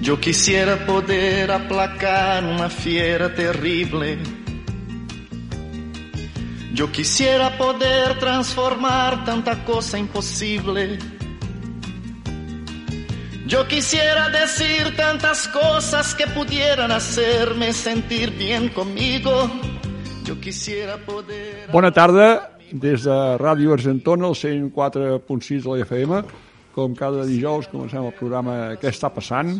Yo quisiera poder aplacar una fiera terrible. Yo quisiera poder transformar tanta cosa imposible. Yo quisiera decir tantas cosas que pudieran hacerme sentir bien conmigo. Yo quisiera poder... Bona tarda, des de Ràdio Argentona, el 104.6 de la FM. Com cada dijous comencem el programa Què està passant?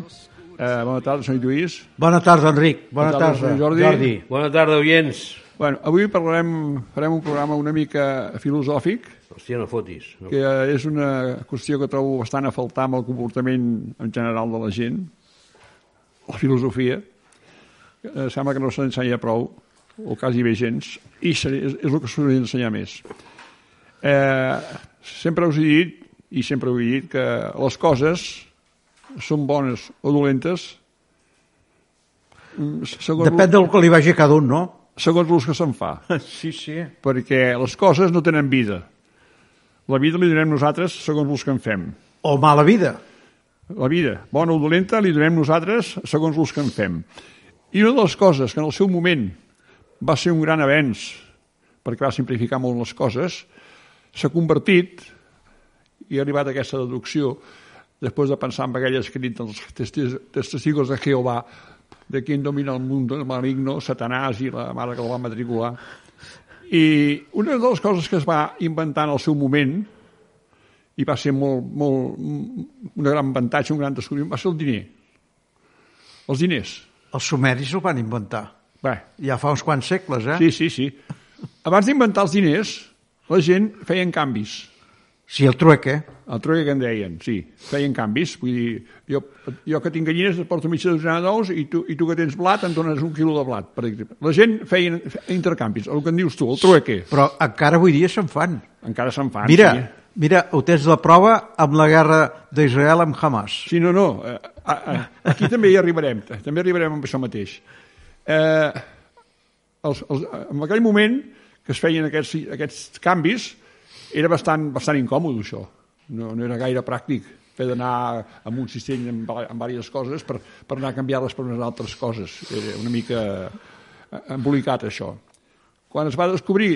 Eh, bona tarda, senyor Lluís. Bona tarda, Enric. Bona, Bona tarda, tarda, senyor Jordi. Jordi. Bona tarda, oients. Bueno, avui parlarem, farem un programa una mica filosòfic, Hòstia, no fotis. No. que eh, és una qüestió que trobo bastant a faltar amb el comportament en general de la gent, la filosofia. Eh, Sembla que no se n'ensenya prou, o quasi bé gens, i se- és, és el que s'hauria d'ensenyar més. Eh, sempre us he dit, i sempre ho he dit, que les coses són bones o dolentes mm, segons, Depèn del que li vagi a cada un, no? segons l'ús que se'n fa Sí, sí. perquè les coses no tenen vida. La vida li donem nosaltres segons els que en fem. O mala vida. La vida, bona o dolenta, li donem nosaltres segons els que en fem. I una de les coses que en el seu moment va ser un gran avenç, perquè va simplificar molt les coses, s'ha convertit, i ha arribat a aquesta deducció, després de pensar en aquell escrit dels testi- dels testigos de Jehovà, de quin domina el món del maligno, Satanàs i la mare que el va matricular. I una de les coses que es va inventar en el seu moment, i va ser molt, molt, un gran avantatge, un gran descobriment, va ser el diner. Els diners. Els sumeris ho van inventar. Bé, Ja fa uns quants segles, eh? sí, sí, sí. Abans d'inventar els diners, la gent feien canvis. Sí, el trueque. El truque que en deien, sí, feien canvis. Vull dir, jo, jo que tinc gallines et porto mitja dotzena d'ous i tu, i tu que tens blat em dones un quilo de blat, per exemple. La gent feien intercanvis, el que en dius tu, el trueque. Però encara avui dia se'n fan. Encara se'n fan. Mira, Ah, sí. mira, ho tens la prova amb la guerra d'Israel amb Hamas. Sí, no, no. eh, a- a- Aquí també hi arribarem. També arribarem amb això mateix. Eh, els, els, en aquell moment que es feien aquests, aquests canvis era bastant, bastant incòmode, això. No, no era gaire pràctic fer d'anar amb un cistell amb, va- amb diverses coses per, per anar a canviar-les per unes altres coses. Era una mica eh, embolicat, això. Quan es va descobrir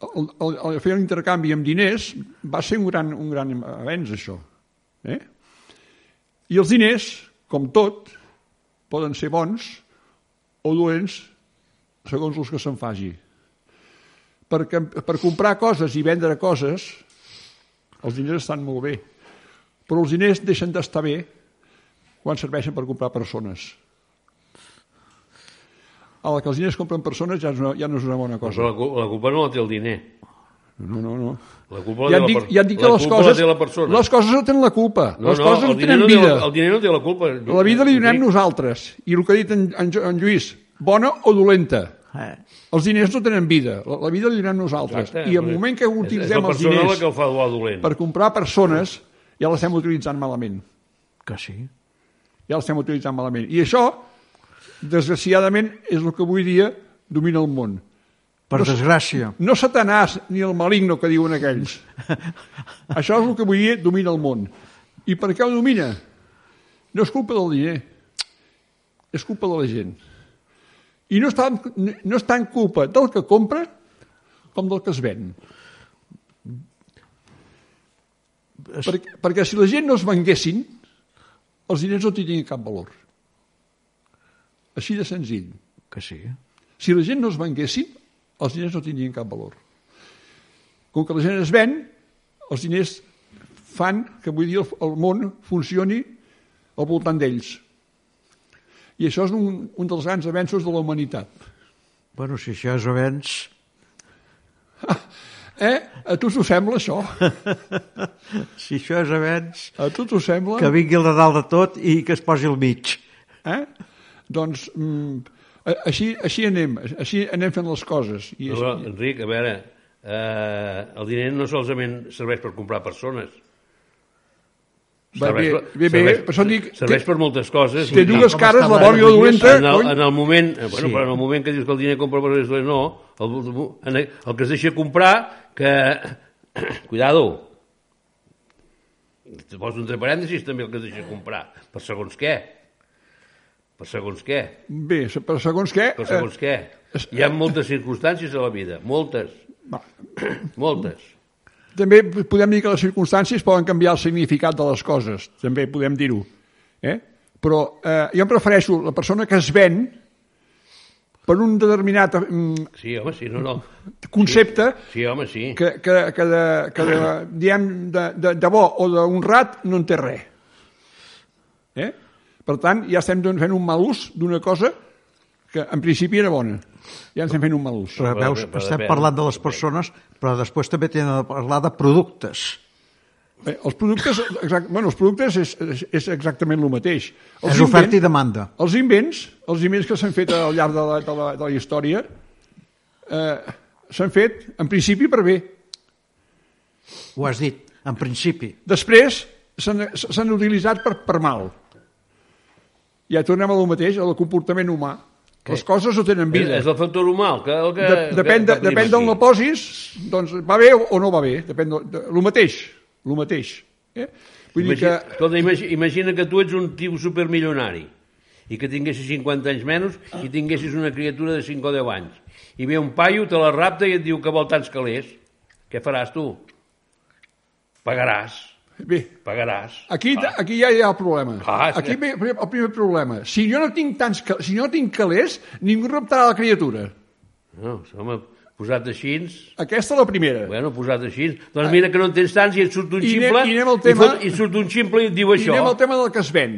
el, el, el fer un intercanvi amb diners va ser un gran, un gran avenç, això. Eh? I els diners, com tot, poden ser bons o dolents segons els que se'n faci. Per, cam- per comprar coses i vendre coses, els diners estan molt bé, però els diners deixen d'estar bé quan serveixen per comprar persones. A la que els diners compren persones ja, és una, ja no és una bona cosa. Però la, cu- la culpa no la té el diner. No, no, no. La culpa la Ja té et la dic, per- ja et dic que la les culpa coses, La té la persona. les coses no tenen la culpa. no, les no, coses el no diner tenen no té vida. La, el diner no té la culpa. La vida li donem Enric, nosaltres. I el que ha dit en, en, Jo- en Lluís, bona o dolenta. Eh? Els diners no tenen vida. La, la vida li donem nosaltres. Exacte, I el vull dir, moment que eh, és utilitzem la els persona la diners que el fa dur dolent. per comprar persones, ja l'estem utilitzant malament. Que sí. Ja l'estem utilitzant malament. I això, desgraciadament, és el que avui dia domina el món. Per desgràcia. No Satanàs ni el maligno que diuen aquells. Això és el que avui dia domina el món. I per què ho domina? No és culpa del diner. És culpa de la gent. I no està, no està en culpa del que compra com del que es ven. Perquè, perquè si la gent no es venguessin, els diners no tindrien cap valor. Així de senzill. Que sí. Si la gent no es venguessin, els diners no tindrien cap valor. Com que la gent es ven, els diners fan que avui dia el, el món funcioni al voltant d'ells. I això és un, un dels grans avenços de la humanitat. Bueno, si això és avenç... Eh? A tu t'ho sembla, això? Si això és avenç... A tu t'ho sembla? Que vingui el de dalt de tot i que es posi al mig. Eh? Doncs mm, a- així, així anem, així anem fent les coses. I No, així, no, Enric, a veure, eh, el diner no solament serveix per comprar persones. va bé, bé, bé, serveix, per això dic... serveix per moltes coses. Té Vull dir, dues com cares, està la la bona i la dolenta, en el, cony. en el moment, eh, bueno, Sí. sí. però en el moment que dius que el diner compra per res, no, el, en el, el que es deixa comprar, que... Cuidado. Poso entre parèntesis també el que es deixa comprar, per segons què. Per segons què. Bé, se- però segons què... eh, Per segons què. Hi ha moltes circumstàncies a la vida. Moltes. va. Moltes. També podem dir que les circumstàncies poden canviar el significat de les coses, també podem dir-ho. Eh? Però eh, jo em prefereixo la persona que es ven per un determinat mm, Sí, home, sí, no, no. concepte Sí, home, sí. que, que, que, de, que de, diem, de, de, de bo o d'honrat no en té res. Eh? Per tant, ja estem don- fent un mal ús d'una cosa que en principi era bona. Ja ens estem fent un mal ús. Però, Però, veus, però estem depèn, parlant de les depèn. persones, però després també tenen de parlar de productes. Bé, els productes, exact, bueno, els productes és, és, és exactament el mateix. Els és oferta invents- i demanda. Els invents, els invents que s'han fet al llarg de la, de la, de la història, eh, s'han fet, en principi, per bé. Ho has dit, en principi. Després s'han s'han utilitzat per, per mal. Ja tornem a lo mateix, al comportament humà. Les coses no tenen És, vida. és el factor humà el que... El que De, depèn de, depèn d'on la posis, doncs va bé o no va bé. Depèn de, de, lo mateix, lo mateix. Eh? Vull dir que... Imagina, escolta, imagina, imagina que tu ets un tio supermilionari i que tinguessis 50 anys menys i tinguessis una criatura de 5 o 10 anys. I ve un paio, te la rapta i et diu que vol tants calés. Què faràs tu? Pagaràs, Bé, pagaràs. Aquí, aquí ja hi ha el problema. Ah, sí. aquí ve ve el primer problema. Si jo no tinc tants cal... si jo no tinc calés, ningú raptarà la criatura. No, home, posat així... Aquesta és la primera. Bueno, posat així. Doncs mira que no en tens tants i et surt un I anem- ximple... i anem al tema- fot- I surt un ximple i et diu I això. anem al tema del que es ven.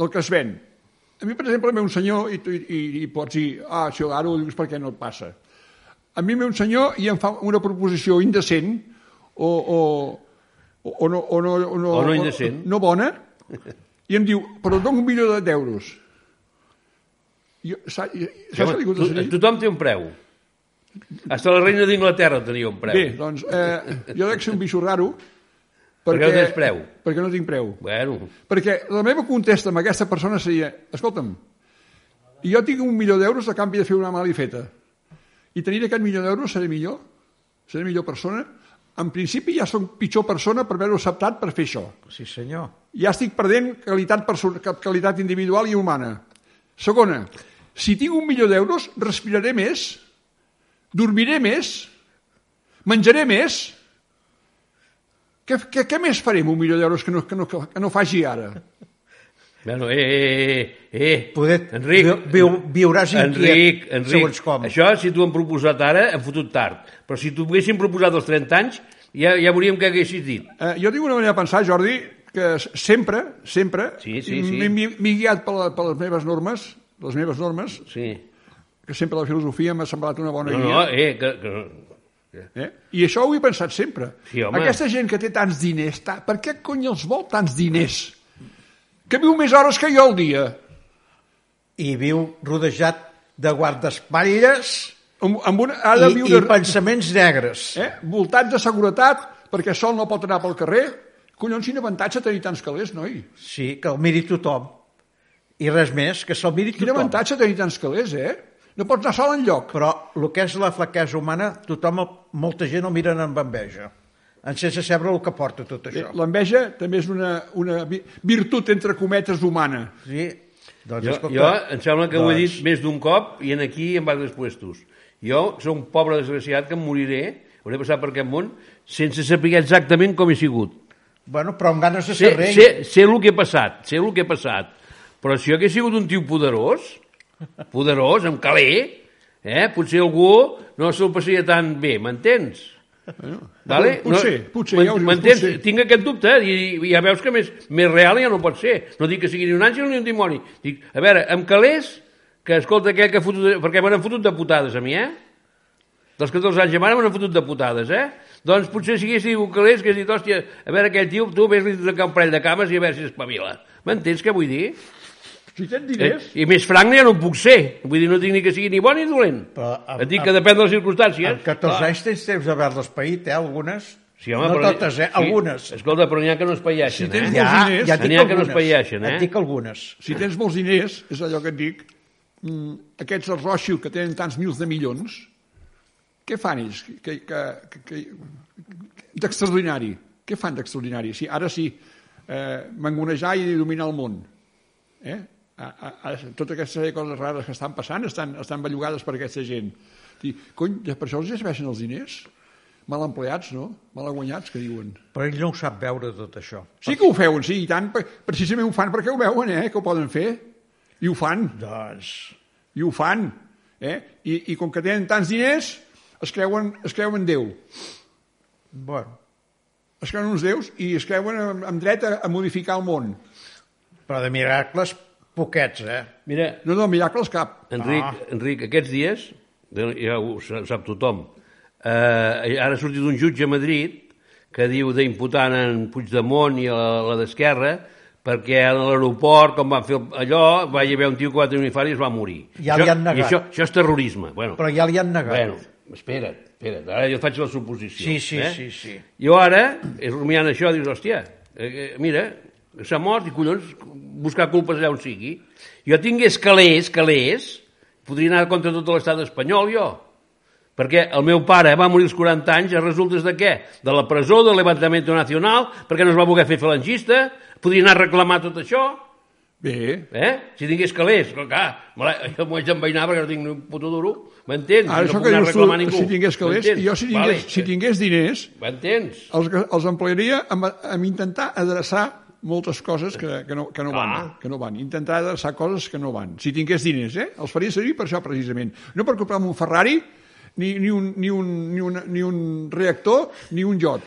Del que es ven. A mi, per exemple, ve un senyor i, tu- i, i pots dir, ah, això ara ho dius perquè no et passa. A mi ve un senyor i em fa una proposició indecent o, o, o, o, no, o, no, o, no, O no indecent. no bona i em diu, però et dono un milió de- d'euros. Jo, sa, i- saps què li Home, dic al tu- senyor? tothom té un preu. Hasta la reina d'Inglaterra tenia un preu. Bé, doncs, eh, jo dec ser un bicho raro Perquè no tens preu. Perquè no tinc preu. Bueno, Perquè la meva contesta amb aquesta persona seria, escolta'm, jo tinc un milió d'euros a canvi de fer una mala feta. I tenir aquest milió d'euros seré millor? Seré millor persona? En principi ja sóc pitjor persona per haver-ho acceptat per fer això. Sí, senyor. Ja estic perdent qualitat, perso- qualitat individual i humana. Segona, si tinc un milió d'euros, respiraré més, dormiré més, menjaré més... Què, què, què més faré amb un milió d'euros que no, que, no, que no faci ara? bueno, eh, eh, eh, eh. Poder, Enric, viu, viu, viuràs inquiet, Enric, Enric, segons com. això si t'ho han proposat ara, hem fotut tard. Però si t'ho haguessin proposat als 30 anys, ja, ja veuríem què haguessis dit. Eh, jo tinc una manera de pensar, Jordi, que s- sempre, sempre, Sí, sí, sí. m'he- m'he m'he guiat per, la, per les meves normes, les meves normes, Sí. que sempre la filosofia m'ha semblat una bona No, no, guia. eh, que, que... Eh? I això ho he pensat sempre. Sí, home. Aquesta gent que té tants diners, ta... per què cony els vol tants diners? Que viu més hores que jo al dia. I viu rodejat de guardaespatlles Amb, amb una... i, Ha de i viure... pensaments negres. eh? voltat de seguretat, perquè sol no pot anar pel carrer. Collons, quin avantatge tenir tants calés, noi. Sí, que el miri tothom. I res més, que se'l miri Quin tothom. avantatge tenir tants calés, eh? No pots anar sol enlloc. Però el que és la flaquesa humana, tothom, molta gent ho miren amb enveja. En sense saber el que porta tot Bé, això. Eh, L'enveja també és una, una vi- virtut, entre cometes, humana. Sí, doncs, Jo, escolta, jo em sembla que ho he doncs, dit més d'un cop i en aquí en altres puestos. Jo sóc un pobre desgraciat que em moriré, hauré passat per aquest món, sense saber exactament com he sigut. Bueno, però amb ganes de ser Sé, rei. sé, sé el que he passat, sé el que he passat. Però si jo hagués sigut un tio poderós, poderós, amb caler, eh, potser algú no se'l passaria tan bé, m'entens? Vale? Pot- potser, potser, m'en- ja ho dius, m'entens? potser. Tinc aquest dubte eh, i, i ja veus que més, més real ja no pot ser. No dic que sigui ni un àngel ni un dimoni. Dic, a veure, amb calés, que escolta, aquell que ha fotut... Perquè me n'han fotut de putades a mi, eh? Dels 14 anys de mare me n'han fotut de putades, eh? Doncs potser si hagués sigut calés, que hagués dit, hòstia, a veure aquell tio, tu vés-li trencar un parell de cames i a veure si espavila. M'entens què vull dir? Si tens Eh, diners... I més franc ja no puc ser. Vull dir, no tinc ni que sigui ni bon ni dolent. Però amb- Et dic amb- que depèn de les circumstàncies. Amb 14 anys tens temps d'haver-les paït, eh, algunes. Sí, home, no però- totes, eh, sí. algunes. Escolta, però n'hi ha que no es paieixen, Si tens eh? molts diners, ja et dic n'hi ha que no es algunes, païeixen, eh? Et dic algunes. Si tens molts diners, és allò que et dic, mm, aquests els Rothschild que tenen tants mils de milions, què fan ells? Que, que, que, que, d'extraordinari. Què fan d'extraordinari? Si, ara sí, eh, mangonejar i dominar el món. Eh? A, a, a, tota aquesta sèrie de coses rares que estan passant estan, estan bellugades per aquesta gent. Dic, cony, per això els hi serveixen els diners? Mal empleats, no? Mal guanyats, que diuen. Però ell no ho sap veure tot això. Sí que ho feuen, sí, i tant. per- Precisament ho fan perquè ho veuen, eh, que ho poden fer. I ho fan, Doncs... i ho fan. Eh? I, I com que tenen tants diners, es creuen, es creuen Déu. Bueno, Es creuen uns déus i es creuen amb, amb dret a, a modificar el món. però de miracles, poquets, eh? Mira, No, no, miracles cap. Enric, ah. Enric aquests dies, de- ja ho sa- sap tothom, eh, ara ha sortit un jutge a Madrid que diu d'imputant en Puigdemont i la, la d'Esquerra perquè a l'aeroport, com van fer el- allò, va hi haver un tio que va tenir un infart i es va morir. Ja això, li han negat. I això, això és terrorisme. Bueno, Però ja li han negat. bueno, espera't, espera't. Ara jo faig la suposició. Sí, sí, eh? sí, sí. Jo ara, és rumiant això, dius, hòstia, eh, eh, mira, s'ha mort i collons, buscar culpes allà on sigui. Jo tingués calés, calés, podria anar contra tot l'estat espanyol, jo. Perquè el meu pare va morir als 40 anys a resultes de què? De la presó, del levantament nacional, perquè no es va voler fer falangista, podria anar a reclamar tot això, Bé, eh? Si tingués calés, però clar, me la, jo m'ho haig d'enveinar perquè no tinc ni un puto duro, ara m'entens? no Ah, això puc que anar a dius tu, reclamar a ningú, si tingués calés, m'entens? i jo si tingués, Vale. si tingués diners, M'entens? els, els emplearia amb, amb intentar adreçar moltes coses que, que, no, que, no van, Ah. que no van. Intentar adreçar coses que no van. Si tingués diners, eh? Els faria servir per això, precisament. No per comprar un Ferrari, ni, ni, un, ni, un, ni, un, ni un reactor, ni un iot.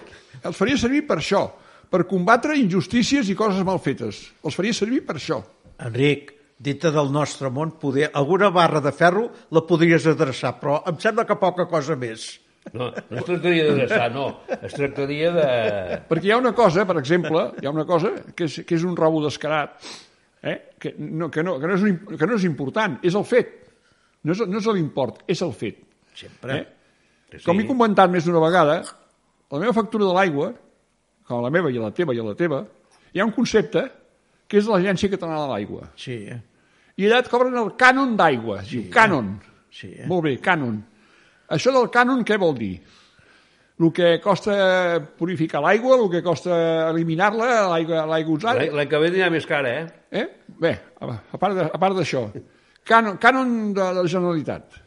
Els faria servir per això, per combatre injustícies i coses mal fetes. Els faria servir per això. Enric, dintre del nostre món, poder, alguna barra de ferro la podries adreçar, però em sembla que poca cosa més. No, no es tractaria d'adreçar, no. Es tractaria de... Perquè hi ha una cosa, per exemple, hi ha una cosa que és, que és un robo descarat, eh? que, no, que, no, que, no és, un im- que no és important, és el fet. No és, no és l'import, és el fet. Sempre. Eh? Sí. Com he comentat més d'una vegada, la meva factura de l'aigua, com la meva i la teva i la teva, hi ha un concepte que és de l'Agència Catalana de l'Aigua. Sí, eh? I allà et cobren el cànon d'aigua. Sí. Diu, cànon. Sí, eh? Molt bé, cànon. Això del cànon què vol dir? El que costa purificar l'aigua, el que costa eliminar-la, l'aigua l'aigua usada... L'any que ve anirà més cara, eh? Eh? Bé, a a part de- a part d'això, cànon, cànon de la Generalitat.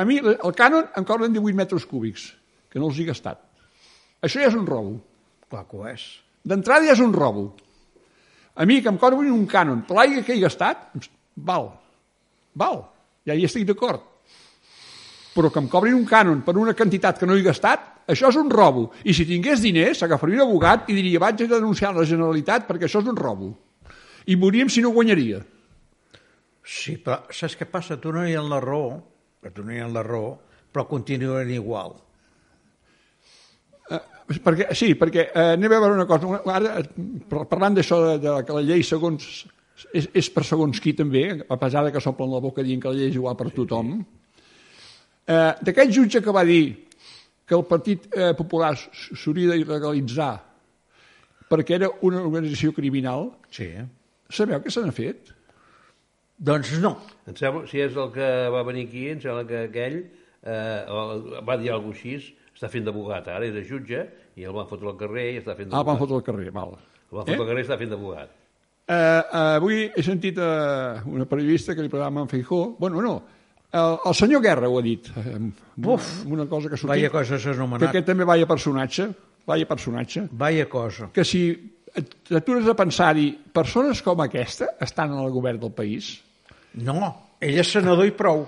A mi l- el cànon em cobren 18 metres cúbics, que no els he gastat. Això ja és un robo. clar que ho és. D'entrada ja és un robo. A mi que em cobrin un cànon per l'aigua que he gastat, doncs, val, val, ja hi estic d'acord. Però que em cobrin un cànon per una quantitat que no he gastat, això és un robo. I si tingués diners, agafaria un abogat i diria vaig a denunciar la Generalitat perquè això és un robo. I moríem si no guanyaria. Sí, però saps què passa? Tu no hi ha la raó, que tu no hi ha la raó, però continuen igual. Perquè, sí, perquè eh, anem a veure una cosa. Una- Ara, eh, par- parlant d'això de, de que la llei segons... És, és per segons qui també, a pesar de que s'omplen la boca dient que la llei és igual per tothom. Eh, D'aquest jutge que va dir que el Partit eh, Popular s- s'hauria d'il·legalitzar perquè era una organització criminal, Sí, eh? sabeu què se n'ha fet? Doncs no. Em sembla, si és el que va venir aquí, em sembla que aquell eh, el- va dir alguna cosa així, està fent d'abogat, ara és de jutge, i el van fotre al carrer i està fent Ah, el van d'abogat. fotre al carrer, val. el van fotre al carrer i està fent d'abogat. Eh, eh, avui he sentit eh, una periodista que li parlava a Manfijó. Bueno, no, el, el senyor Guerra ho ha dit. eh, Amb, Uf, amb una cosa que ha sortit. Vaya cosa s'ha que anomenat. aquest també vaya personatge. Vaya personatge. Vaya cosa. Que si et- t'atures a pensar-hi, persones com aquesta estan en el govern del país, No, ell és senador i prou.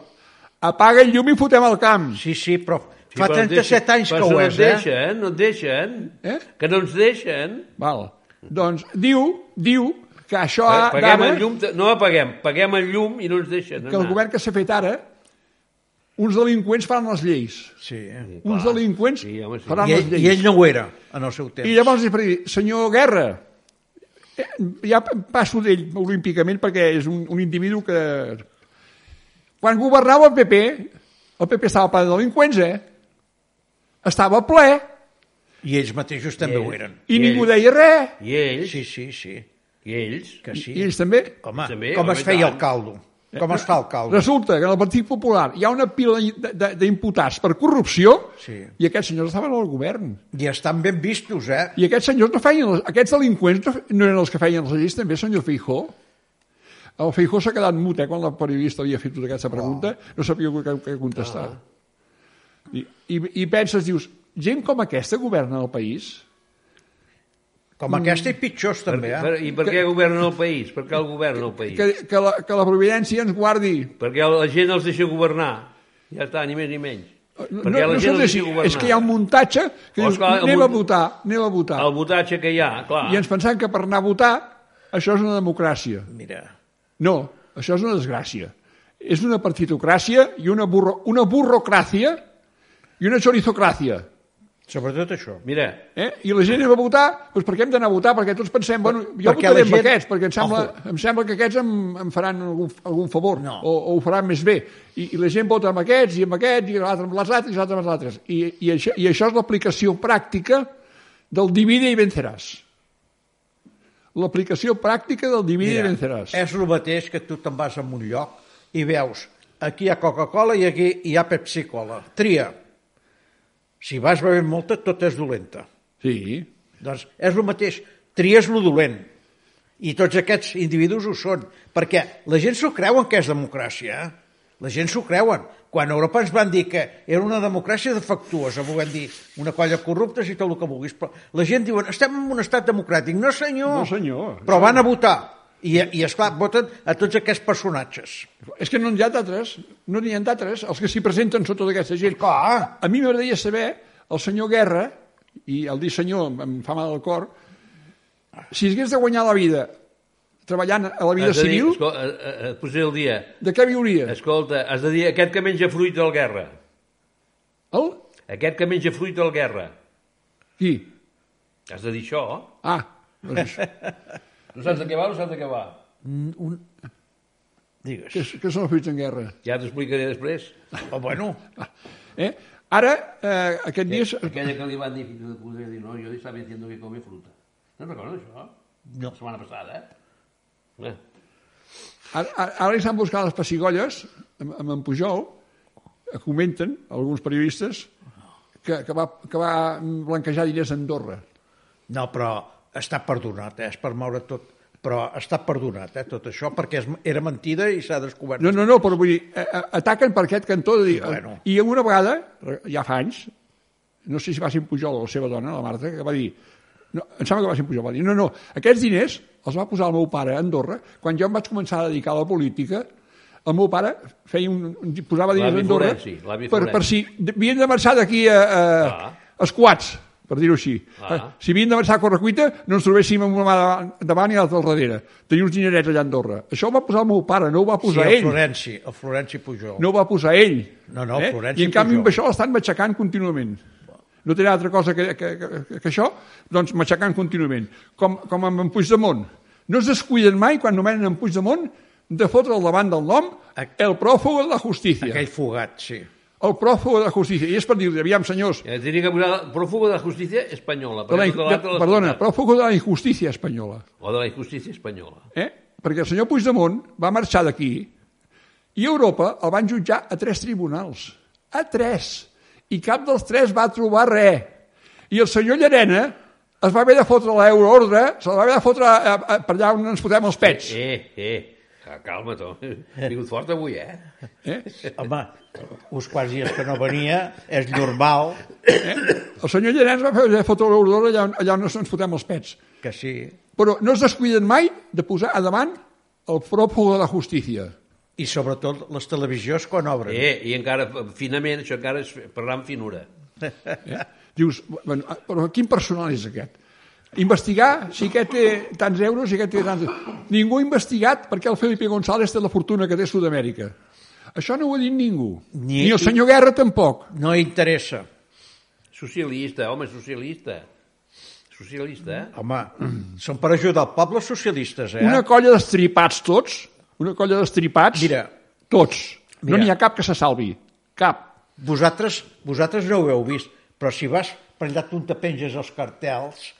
apaga el llum i fotem al camp. Sí, sí, però Sí, fa però ens 37 anys però que si ho no és, ens eh? deixen, No et deixen, Eh? que no ens deixen. Val. Doncs diu, diu que això Pa- ha Eh, Paguem d'ara- el llum, de- no apaguem, paguem el llum i no ens deixen. Ah, que el anar. govern que s'ha fet ara, uns delinqüents faran les lleis. Sí, eh? Uns Clar. delinqüents Sí, home, sí. faran I, les ell, lleis. I ell no ho era, en el seu temps. I llavors li faré, senyor Guerra, eh, ja passo d'ell olímpicament perquè és un, un individu que... Quan governava el PP, el PP estava ple de delinqüents, eh? Estava ple I ells mateixos també I ho ell- eren. i, I ningú ells? deia res. I ells, Sí, sí, sí, i ells, que sí. I ells també. Home, També, com home, es i feia tant. el caldo? Com es fa el caldo? Resulta que en el Partit Popular hi ha una pila de- de- d'imputats per corrupció Sí. i aquests senyors estaven al govern. I estan ben vistos, eh? I aquests senyors no feien... Les, aquests delinqüents no, no eren els que feien les lleis, també, senyor Feijó. El Feijó s'ha quedat mut, eh, quan la periodista havia fet tota aquesta pregunta, Ah. no sabia què, què contestar. I, i, I penses, dius, gent com aquesta governa el país? Com aquesta i pitjors, també, Per, eh? I per què governen el país? Per què el governa el país? Que, que, la, que la providència ens guardi. Perquè la gent els deixa governar. Ja està, ni més ni menys. No, Perquè no, la això és, gent els així, deixa governar. és que hi ha un muntatge que Oh, dius, esclar, el anem a munt- votar, anem a votar. El votatge que hi ha, clar. I ens pensem que per anar a votar això és una democràcia. Mira, No, això és una desgràcia. És una partitocràcia i una, burro, una burrocràcia i una chorizocràcia. sobretot això. Mira, Eh? I la gent anem a votar, doncs per què hem d'anar a votar? Perquè tots pensem, bueno, jo perquè votaré la amb gent- aquests, perquè em sembla, em sembla que aquests em, em faran algun, algun favor, No. o, o ho faran més bé. I, I la gent vota amb aquests, i amb aquests, i l'altre amb les altres, i l'altre amb les altres. I, i, això, I això és l'aplicació pràctica del divide i venceràs. L'aplicació pràctica del divide i venceràs. és el mateix que tu te'n vas a un lloc i veus aquí hi ha Coca-Cola i aquí hi ha Pepsi-Cola. Tria. Si vas bevent molta, tot és dolenta. Sí, Doncs és el mateix. Tries lo dolent. I tots aquests individus ho són. Perquè la gent s'ho creuen que és democràcia. Eh? La gent s'ho creuen. Quan a Europa ens van dir que era una democràcia defectuosa, volent dir una colla corrupta i tot el que vulguis, però la gent diuen estem en un estat democràtic. No senyor. No, senyor. Però van a votar. I, i esclar, voten a tots aquests personatges. És que no n'hi ha d'altres, no n'hi ha d'altres, els que s'hi presenten són tota aquesta gent. Clar. A mi m'agradaria saber, el senyor Guerra, i el dir senyor em- em fa mal al cor, si hagués de guanyar la vida treballant a la vida has de dir, civil, escol- eh, eh, eh, posaré el dia. de què viuria? Escolta, has de dir aquest que menja fruit del guerra. El? Aquest que menja fruit del guerra. Qui? Has de dir això. Ah, doncs això. No saps de què va o no saps de què va? Digues. què, què són els fills en guerra? Ja t'ho explicaré després. O bueno, Eh? Ara, eh, aquest dia... és- Aquella que li van dir, fill de puta, dir, no, jo estava diciendo que come fruta. No recordes això? No. La setmana passada, eh? eh. Ara, ara- ara li estan buscant les pessigolles, amb, amb en Pujol, eh, comenten alguns periodistes que, que, va, que va blanquejar diners a Andorra. No, però està perdonat, eh? és per moure tot. Però està perdonat, eh, tot això, perquè és, era mentida i s'ha descobert. No, no, no, però vull dir, eh, eh, ataquen per aquest cantó de dir... eh, Bueno. I una vegada, eh, ja fa anys, no sé si va ser en Pujol o la seva dona, la Marta, que va dir... No, em sembla que va ser en Pujol, va dir, no, no, aquests diners els va posar el meu pare a Andorra. Quan jo em vaig començar a dedicar a la política, el meu pare feia un, un- posava diners a L'avi Andorra Florenci, l'avi per, per si Florenci. havien de marxar d'aquí a, a, Ah. esquats, per dir-ho així. Eh, Ah. Si havien d'avançar a correcuita, no ens trobéssim amb una mà davant, davant i l'altra al darrere. Tenia uns dinerets allà a Andorra. Això ho va posar el meu pare, no ho va sí, posar el ell Florenci, el Florenci Pujol. no ho va posar ell. Eh? No, no, Florenci I en canvi Pujol. amb això l'estan matxacant contínuament. No tenen altra cosa que, que, que, que això, doncs matxacant contínuament. Com, com amb en Puigdemont. No es descuiden mai, quan nomenen en Puigdemont, de fotre al davant del nom el pròfugo de la justícia. Aquell fugat, sí. El pròfugo de la justícia. I és per dir-li, aviam, senyors, Ja tenia que posar pròfugo de la justícia espanyola. de la, perquè tota de, l'altra l'ha perdona, escoltat. pròfugo de la injustícia espanyola. O de la injustícia espanyola. Eh? Perquè el senyor Puigdemont va marxar d'aquí i a Europa el van jutjar a tres tribunals. A tres. I cap dels tres va trobar res. I el senyor Llarena es va haver de fotre l'euroordre, se la va haver de fotre a, a, per allà on ens fotem els pets. Eh, eh, ah, calma, Tom. He vingut fort avui, eh? Eh? Home, uns quants dies que no venia, és normal Eh? El senyor Llarena es va haver de fotre l'euroordre allà, on- allà on ens fotem els pets. que sí. Però no es descuiden mai de posar a davant el pròfugo de la justícia. I sobretot les televisions quan obren. Eh, i encara, finament, això encara és parlar amb finura. Eh? Dius, bueno, ah, però quin personal és aquest? Investigar si aquest té tants euros, si aquest té tants... Ningú ha investigat perquè el Felipe González té la fortuna que té a Sud-amèrica. Això no ho ha dit ningú. Ni, Ni- Ni el senyor Guerra tampoc. No interessa. Socialista, home, socialista. Socialista, eh? Home, són per ajudar el poble socialistes, eh? Una colla d'estripats tots, una colla d'estripats, Mira. tots. No Mira. n'hi ha cap que se salvi. Cap. Vosaltres, vosaltres no ho heu vist, però si vas per allà tu on te penges els cartels,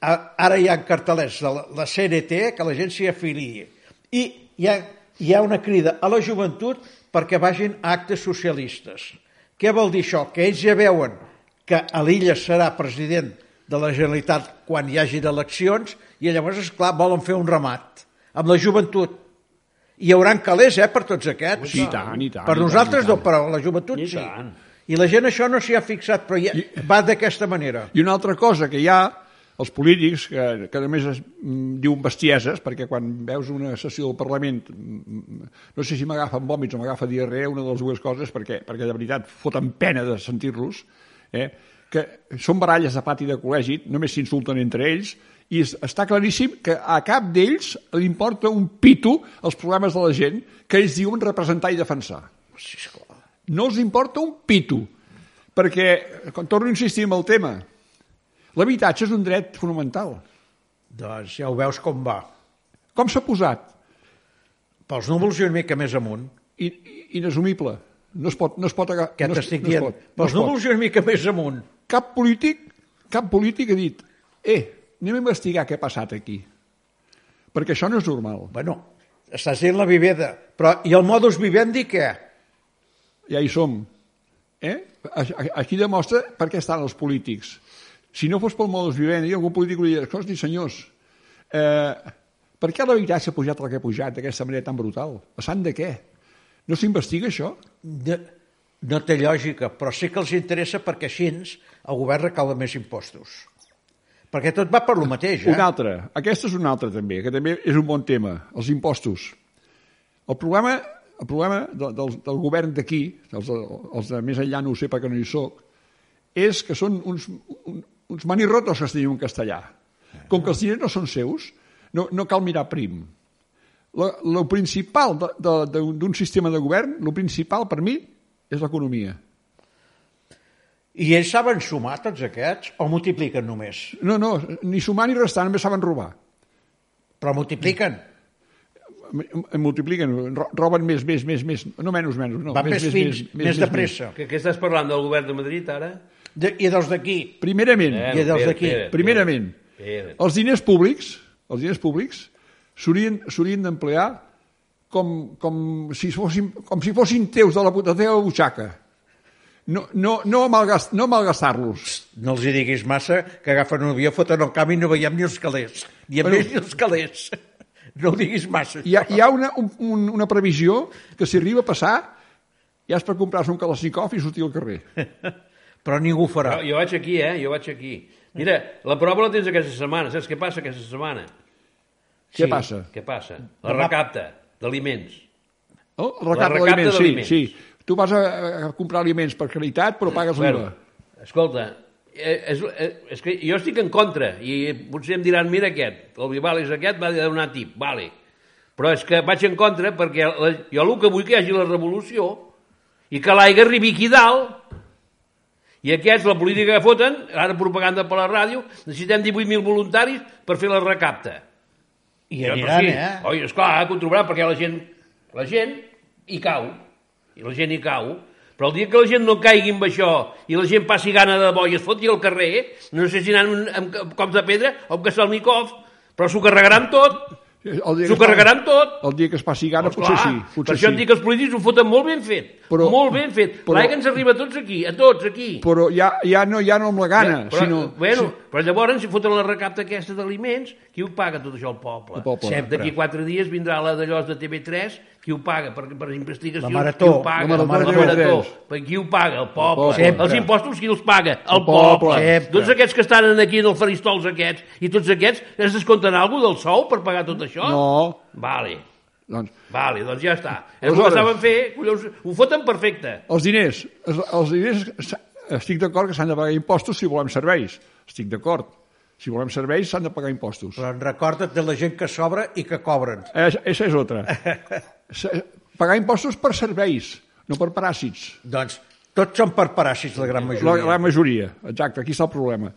a- ara hi ha cartelers de la, la CNT que la gent s'hi afiliï. I hi ha, hi ha una crida a la joventut perquè vagin a actes socialistes. Què vol dir això? Que ells ja veuen que a l'illa serà president de la Generalitat quan hi hagi eleccions i llavors, és clar volen fer un remat amb la joventut. Hi hauran calés, eh, per tots aquests. Sí, i tant, i tant, Per i tant, nosaltres i tant. no, però la joventut I sí. tant. I la gent això no s'hi ha fixat, però ja va d'aquesta manera. I una altra cosa que hi ha, els polítics, que, que només es, mm, diuen bestieses, perquè quan veus una sessió del Parlament, mm, no sé si m'agafen vòmits o m'agafa diarrea, una de les dues coses, perquè, perquè de veritat foten pena de sentir-los, eh? que són baralles de pati de col·legi, només s'insulten entre ells, i es- està claríssim que a cap d'ells li importa un pito els problemes de la gent que ells diuen representar i defensar no els importa un pito, perquè, quan torno a insistir en el tema, l'habitatge és un dret fonamental. Doncs ja ho veus com va. Com s'ha posat? Pels núvols i una mica més amunt. I, i- inassumible. No es pot, no es pot agafar. Què no es- t'estic no es dient? pot, no es Pels pot. núvols i una mica més amunt. Cap polític, cap polític ha dit, eh, anem a investigar què ha passat aquí. Perquè això no és normal. Bueno, estàs dient la viveda. Però, i el modus vivendi què? ja hi som. Eh? A- a- Aquí demostra per què estan els polítics. Si no fos pel modus vivendi, algun polític hauria dit, hosti, senyors, eh, per què l'habitatge ha pujat el que ha pujat d'aquesta manera tan brutal? Passant de què? No s'investiga això? No, no té lògica, però sí que els interessa perquè així el govern recauda més impostos. Perquè tot va per lo mateix, eh? Un altre. Aquesta és una altra també, que també és un bon tema, els impostos. El problema, el problema del, del, del govern d'aquí, els, de- els de més enllà no ho sé perquè no hi soc, és que són uns, un, uns manirrotos que es diuen en castellà. Com que els diners no són seus, no, no cal mirar prim. El principal de- de- d'un d'un sistema de govern, el principal per mi, és l'economia. I ells saben sumar tots aquests o multipliquen només? No, no, ni sumar ni restar, només saben robar. Però multipliquen. M- m- multipliquen, ro- roben més, més, més, més, no menys, menys, no. Van més, fins, més, de pressa. Que, que estàs parlant del govern de Madrid, ara? De, I dels d'aquí. Primerament, Eh, I dels espera, d'aquí, espera, primerament, espera. els diners públics, els diners públics, s'haurien s'haurien d'emplear com, com, si fossin, com si fossin teus de la, de la teva butxaca. No, no, no, malgast, no malgastar-los. No els hi diguis massa que agafen un avió, foten el camp i no veiem ni els calés. Ni a Bueno. més ni els calés. No ho diguis massa. Hi ha, hi ha una, un, un- una previsió que si arriba a passar ja és per comprar-se un Kalashnikov i sortir al carrer. Però ningú ho farà. Jo, jo vaig aquí, eh? Jo vaig aquí. Mira, la prova la tens aquesta setmana. Saps què passa aquesta setmana? Què passa? Què passa? La recapta d'aliments. Oh, el recapte recapta d'aliments, sí, d'aliments. sí. Tu vas a, a comprar aliments per caritat, però pagues l'IVA. Bueno, escolta, eh, és, eh, és que jo estic en contra i potser em diran, mira aquest, el Vivales aquest va donar tip, vale. Però és que vaig en contra perquè la, jo el que vull que hi hagi la revolució i que l'aigua arribi aquí dalt i aquests, la política que foten, ara propaganda per la ràdio, necessitem 18.000 voluntaris per fer la recapta. I Ja, però aniran, sí. eh? Oi, esclar, que ho trobaran, perquè la gent, la gent hi cau, i la gent hi cau. Però el dia que la gent no caigui amb això i la gent passi gana de bo i es foti al carrer, no sé si anant amb, amb, cops de pedra o amb Kastelnikov, però s'ho carregaran tot, El dia s'ho que es carregaran tot. El dia que es passi gana, Doncs potser clar, sí. per Potser això et sí. dic que els polítics ho foten molt ben fet, Però- molt ben fet. però- L'aigua ens arriba a tots aquí, a tots aquí. Però ja, ja, no, ja no amb la gana, però, sinó... bueno, però llavors, si foten la recapta aquesta d'aliments, qui ho paga tot això? El poble. El poble. Sempre. D'aquí quatre dies vindrà la d'allò de TV3, qui ho paga per, per investigació? La marató. Qui ho paga? La marató de TV3. Per qui ho paga? El poble. poble. Sempre. Els impostos qui els paga? El, El poble. poble. Sempre. Doncs aquests que estan aquí en el faristols aquests, i tots aquests, es descompten alguna del sou per pagar tot això? No. Vale. Doncs, Vale, doncs ja està. És el que Aleshores- saben fer, collons, ho foten perfecte. els diners, es- els diners s'ha- estic d'acord que s'han de pagar impostos si volem serveis. Estic d'acord. Si volem serveis, s'han de pagar impostos. Però en recorda't de la gent que sobra i que cobren. Això és otra. Se- Pagar impostos per serveis, no per paràsits. Doncs tots són per paràsits, la gran La, majoria. la majoria, exacte, aquí està el problema.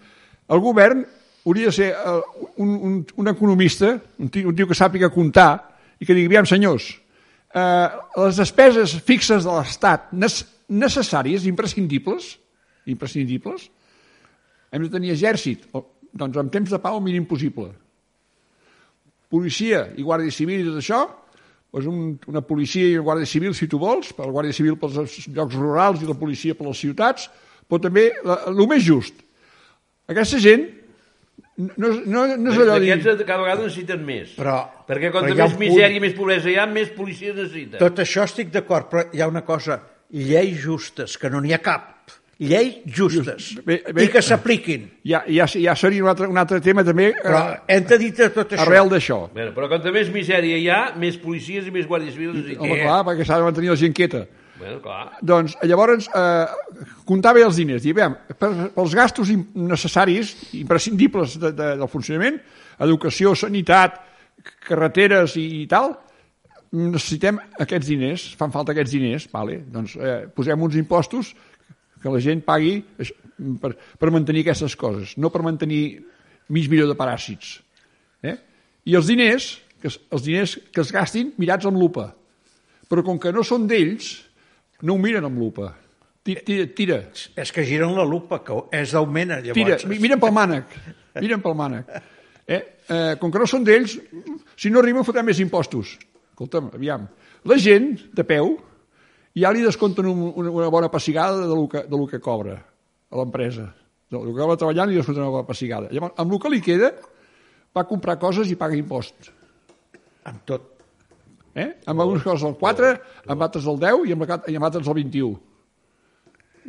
El govern hauria de ser eh, un, un, un economista, un tio, un tio que sàpiga comptar, i que digui, aviam, senyors, eh, les despeses fixes de l'Estat nes- necessàries, imprescindibles, imprescindibles, hem de tenir exèrcit, o, doncs en temps de pau el mínim possible. Policia i Guàrdia Civil i tot això, doncs un, una policia i una Guàrdia Civil, si tu vols, per la Guàrdia Civil pels llocs rurals i la policia per les ciutats, però també la, el més just. Aquesta gent No, és- no, no és allò de dir... Aquests cada vegada necessiten més. Però- Perquè però quan hi ha més un punt- misèria i més pobresa hi ha, més policies necessiten. Tot això estic d'acord, però hi ha una cosa, lleis justes, que no n'hi ha cap. Lleis justes. Just- bé- bé- I que s'apliquin. Hi ha, hi ha, hi ha seria un altre, un altre tema també Però eh, hem de dir tot això. arrel d'això. Bueno, però quan més misèria hi ha, més policies i més guàrdies civils necessiten. Home, clar, perquè s'ha de mantenir la gent quieta. Bueno, clar. Doncs llavors eh, comptar bé els diners. Dir, veiem, per, pels gastos im- necessaris, imprescindibles de, de, del funcionament, educació, sanitat, c- carreteres i, i tal, necessitem aquests diners, fan falta aquests diners, vale? doncs eh, posem uns impostos que la gent pagui aix- per, per mantenir aquestes coses, no per mantenir mig milió de paràsits. Eh? I els diners, que, es- els diners que es gastin mirats amb lupa, però com que no són d'ells, no ho miren amb lupa. Tira, tira, tira, És que giren la lupa, que és d'augment, tira llavors. mi- miren pel mànec, miren pel mànec. Eh? Eh, com que no són d'ells, si no arriben fotrà més impostos. Escolta'm, aviam. La gent, de peu, ja li descompten un, una, una bona pessigada de lo que, de lo que cobra a l'empresa. Del que cobra treballant li descompten una bona pessigada. Llavors, amb el que li queda, va comprar coses i paga imposts. Amb tot. Eh? Amb algunes coses el 4, amb altres el 10 i amb, la, i amb altres el 21.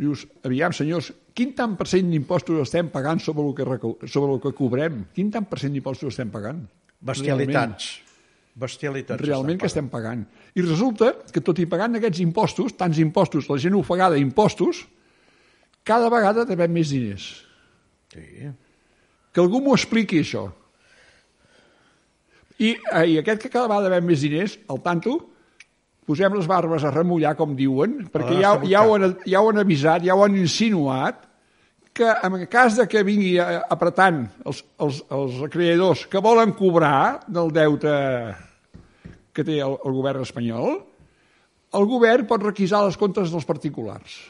Dius, aviam, senyors, quin tant per cent d'impostos estem pagant sobre el, que reco- sobre el que cobrem? Quin tant per cent d'impostos estem pagant? Bestialitats. Bestialitats. Realment que estan estem pagant. I resulta que tot i pagant aquests impostos, tants impostos, la gent ofegada d'impostos, cada vegada devem més diners. pagant. Que algú m'ho expliqui, això. I, eh, I aquest que cada vegada ve més diners, al tanto, posem les barbes a remullar, com diuen, perquè ja, nostra ja, ho han, ja ho han avisat, ja ho han insinuat, que en cas de que vingui eh, apretant els, els, els creadors que volen cobrar del deute que té el, el govern espanyol, el govern pot requisar les comptes dels particulars.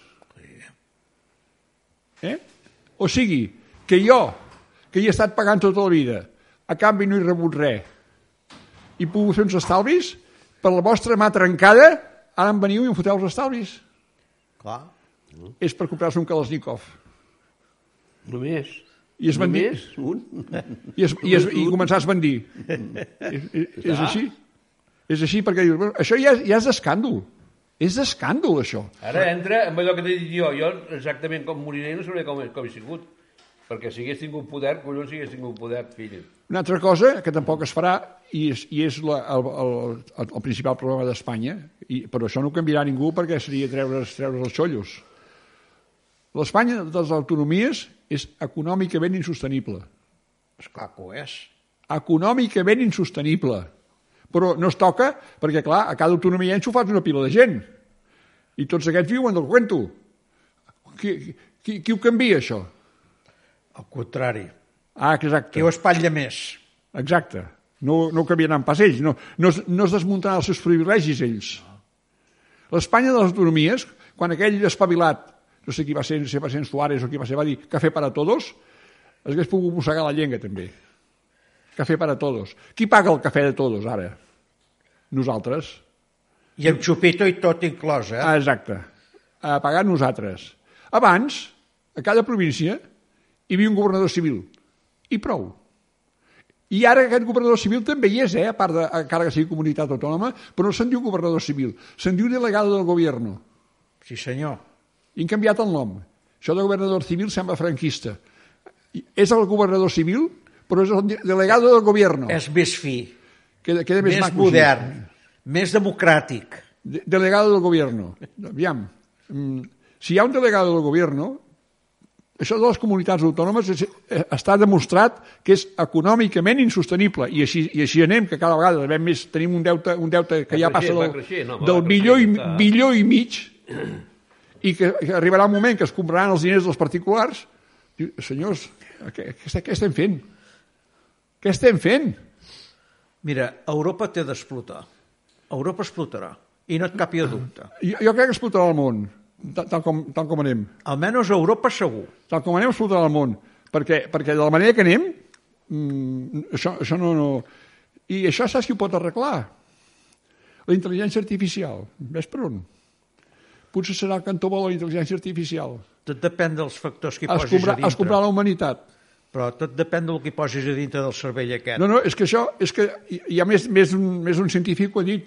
Eh? O sigui, que jo, que hi he estat pagant tota la vida, a canvi no he rebut res, i puc fer uns estalvis, per la vostra mà trencada, ara em veniu i em foteu els estalvis. Sí, clar. És per comprar-se un Kalashnikov. Només. I es van dir- Només un. I, es, i, es, i començar a esbandir. és, és, és així. És així perquè dius, bueno, això ja, és- ja és escàndol. És escàndol, això. Ara entra amb allò que t'he dit jo. Jo exactament com moriré no sabré com, com he sigut. Perquè si hagués tingut poder, collons si hagués tingut poder, fill. Una altra cosa que tampoc es farà, i és, i és la, el, el, el, el principal problema d'Espanya, i- però això no ho canviarà ningú perquè seria treure's, treure's els xollos. L'Espanya de les autonomies és econòmicament insostenible. Esclar que ho és. econòmicament insostenible. Però no es toca, perquè, clar, a cada autonomia hi ha enxufats una pila de gent. I tots aquests viuen del cuento. Qui, qui, qui ho canvia, això? Al contrari. Ah, exacte. Qui ho espatlla més? Exacte. No, no ho canviaran pas ells. No, no, es, no es desmuntaran els seus privilegis, ells. L'Espanya de les autonomies, quan aquell espavilat, no sé qui va ser, si va ser en Suárez o qui va ser, va dir cafè para todos, es hagués pogut mossegar la llengua, també. Cafè para todos. Qui paga el cafè de todos, ara? Nosaltres. I amb xupito i tot inclòs, eh? Ah, exacte. A pagar nosaltres. Abans, a cada província, hi havia un governador civil. I prou. I ara aquest governador civil també hi és, eh? a part de, encara que sigui comunitat autònoma, però no se'n diu governador civil, se'n diu delegado del govern. Sí, senyor. I han canviat el nom. Això de governador civil sembla franquista. I És el governador civil, però és el de- delegado del govern. És més fi, Queda, queda més, més maco, sí. modern, més democràtic. De- delegado del gobierno. Aviam, mm, si hi ha un delegado del gobierno, això de les comunitats autònomes és, eh, està demostrat que és econòmicament insostenible i així, i així anem, que cada vegada devem més, tenim un deute, un deute que Va ja creixent, passa va del, creixent, home, del va bilió, i, creixent, està. bilió i mig i que, que arribarà un moment que es compraran els diners dels particulars. Diu, senyors, què, què, què estem fent? Què estem fent? Mira, Europa té d'explotar. Europa explotarà. I no et capi el dubte. Jo, jo crec que explotarà el món, tal, tal, com, tal com anem. Almenys Europa segur. tal com anem explotarà el món, perquè, perquè de la manera que anem, mm, això, això no, no... I això saps qui ho pot arreglar? La intel·ligència artificial. Ves per on? Potser serà el cantó bo de la intel·ligència artificial. Tot depèn dels factors que hi Es posis comprarà, a dintre. es comprarà la humanitat. Però tot depèn del que hi posis a dintre del cervell aquest. No, no, és que això, és que hi- hi ha més, més, un, més un científic que ha dit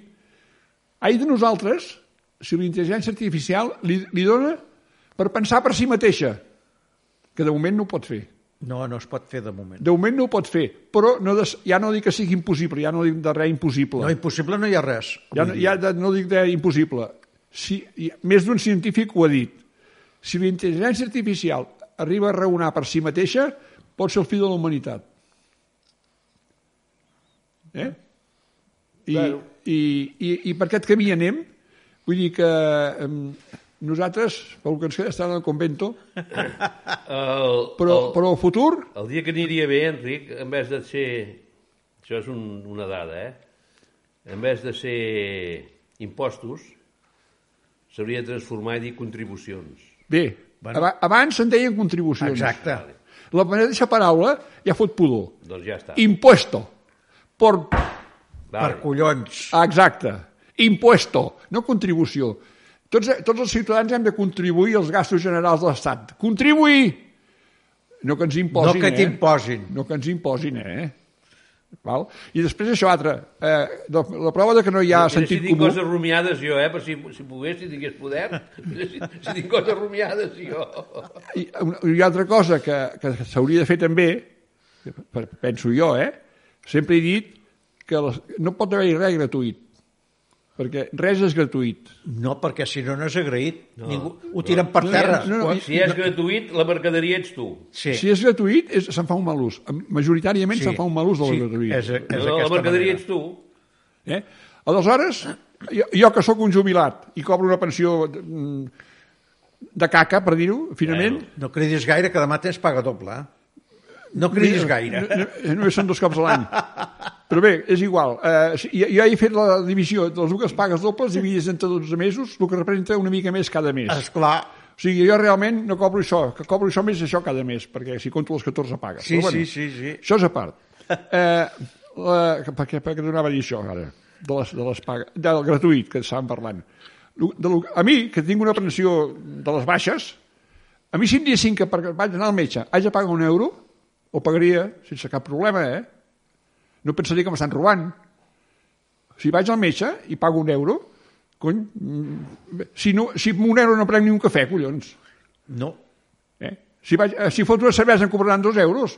ai de nosaltres si la intel·ligència artificial li, li dona per pensar per si mateixa, que de moment no ho pot fer. no, no es pot fer de moment. De moment no ho pot fer, però no des, ja no dic que sigui impossible, ja no dic de res impossible. No, impossible no hi ha res. Ja, no- ja de- no dic de impossible. Si, i- més d'un científic ho ha dit. Si la intel·ligència artificial arriba a raonar per si mateixa, pot ser el fi de la humanitat. Eh? I, Bueno. i, i, I per aquest camí anem. Vull dir que eh, nosaltres, pel que ens queda, estan al convento, El, però, Oh. el, però el futur... el dia que aniria bé, Enric, en vez de ser... Això és un, una dada, eh? En vez de ser impostos, s'hauria de transformar i dir contribucions. Bé, Bueno. bueno. abans se'n deien contribucions. Exacte. La mateixa paraula ja fot pudor. Doncs ja està. Impuesto. Por Per Vale. collons. Ah, Exacte. Impuesto, no contribució. Tots, tots els ciutadans hem de contribuir als gastos generals de l'Estat. Contribuir! No que ens imposin, No que eh? t'imposin. No que ens imposin, eh? Val? I després això altre. Eh, la, la prova de que no hi ha Mira, sentit si tinc comú... coses rumiades jo, eh? Per si, si pogués, si tingués poder. Mira, si, si tinc coses rumiades jo. I una, i una altra cosa que, que s'hauria de fer també, que pe- penso jo, eh? Sempre he dit que les, no pot haver res gratuït, perquè res és gratuït. No, perquè si no, no és agraït. No. Ningú... Ho tiren per terra. No, no, Si és gratuït, la mercaderia ets tu. Sí, Si és gratuït, és, se'n fa un mal ús. Majoritàriament Sí. se'n fa un mal ús de la Sí, gratuïtat. és- és No, d'aquesta la mercaderia manera. ets tu. Eh? Aleshores, jo, jo que sóc un jubilat i cobro una pensió mm, de caca, per dir-ho, finament, No cridis gaire, que demà tens paga doble. Eh? No cridis gaire. no, no, només són dos cops a l'any. Però bé, és igual. Uh, jo, jo he fet la divisió de les dues pagues dobles dividides entre 12 mesos, el que representa una mica més cada mes. Esclar, O sigui, jo realment no cobro això, que cobro això més això cada mes, perquè si compto les 14 pagues. Sí, Però sí, sí, sí. Això és a part. Eh, la, per, què, per què donava a dir això, ara? De les, de les pagues, del gratuït que estàvem parlant. Lo- De lo, a mi, que tinc una pensió de les baixes, a mi si em diguessin que perquè vaig anar al metge haig de pagar un euro, ho pagaria sense cap problema, eh? No pensaria que m'estan robant. Si vaig al metge i pago un euro, cony, mm, si, no, si amb un euro no prenc ni un cafè, collons. no. Eh? Si, vaig, eh, si fots una cervesa em cobraran dos euros,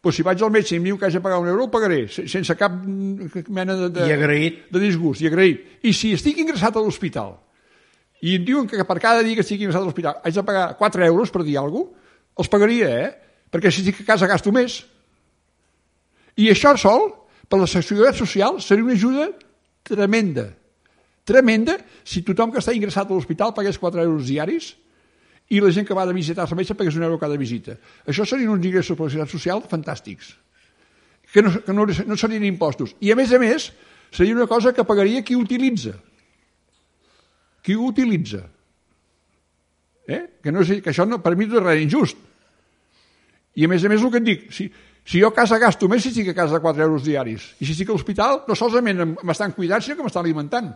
però si vaig al metge i em diu que haig de pagar un euro, ho pagaré, se- sense cap mm, mena de, de, I agraït. de disgust, i agraït. I si estic ingressat a l'hospital i em diuen que per cada dia que estic ingressat a l'hospital haig de pagar 4 euros per dir alguna cosa, els pagaria, eh? Perquè si estic a casa gasto més. I això sol, per la seguretat social, seria una ajuda tremenda. Tremenda si tothom que està ingressat a l'hospital pagués 4 euros diaris i la gent que va de visitar el metge pagués un euro cada visita. Això serien uns ingressos per la seguretat social fantàstics, que no, que no, no serien impostos. I, a més a més, seria una cosa que pagaria qui ho utilitza. Qui ho utilitza. Eh? Que, no és, que això no, per mi no és res injust. I a més a més el que et dic, si, si jo a casa gasto més si estic a casa 4 euros diaris i si estic a l'hospital no solament em- m'estan cuidant sinó que m'estan alimentant.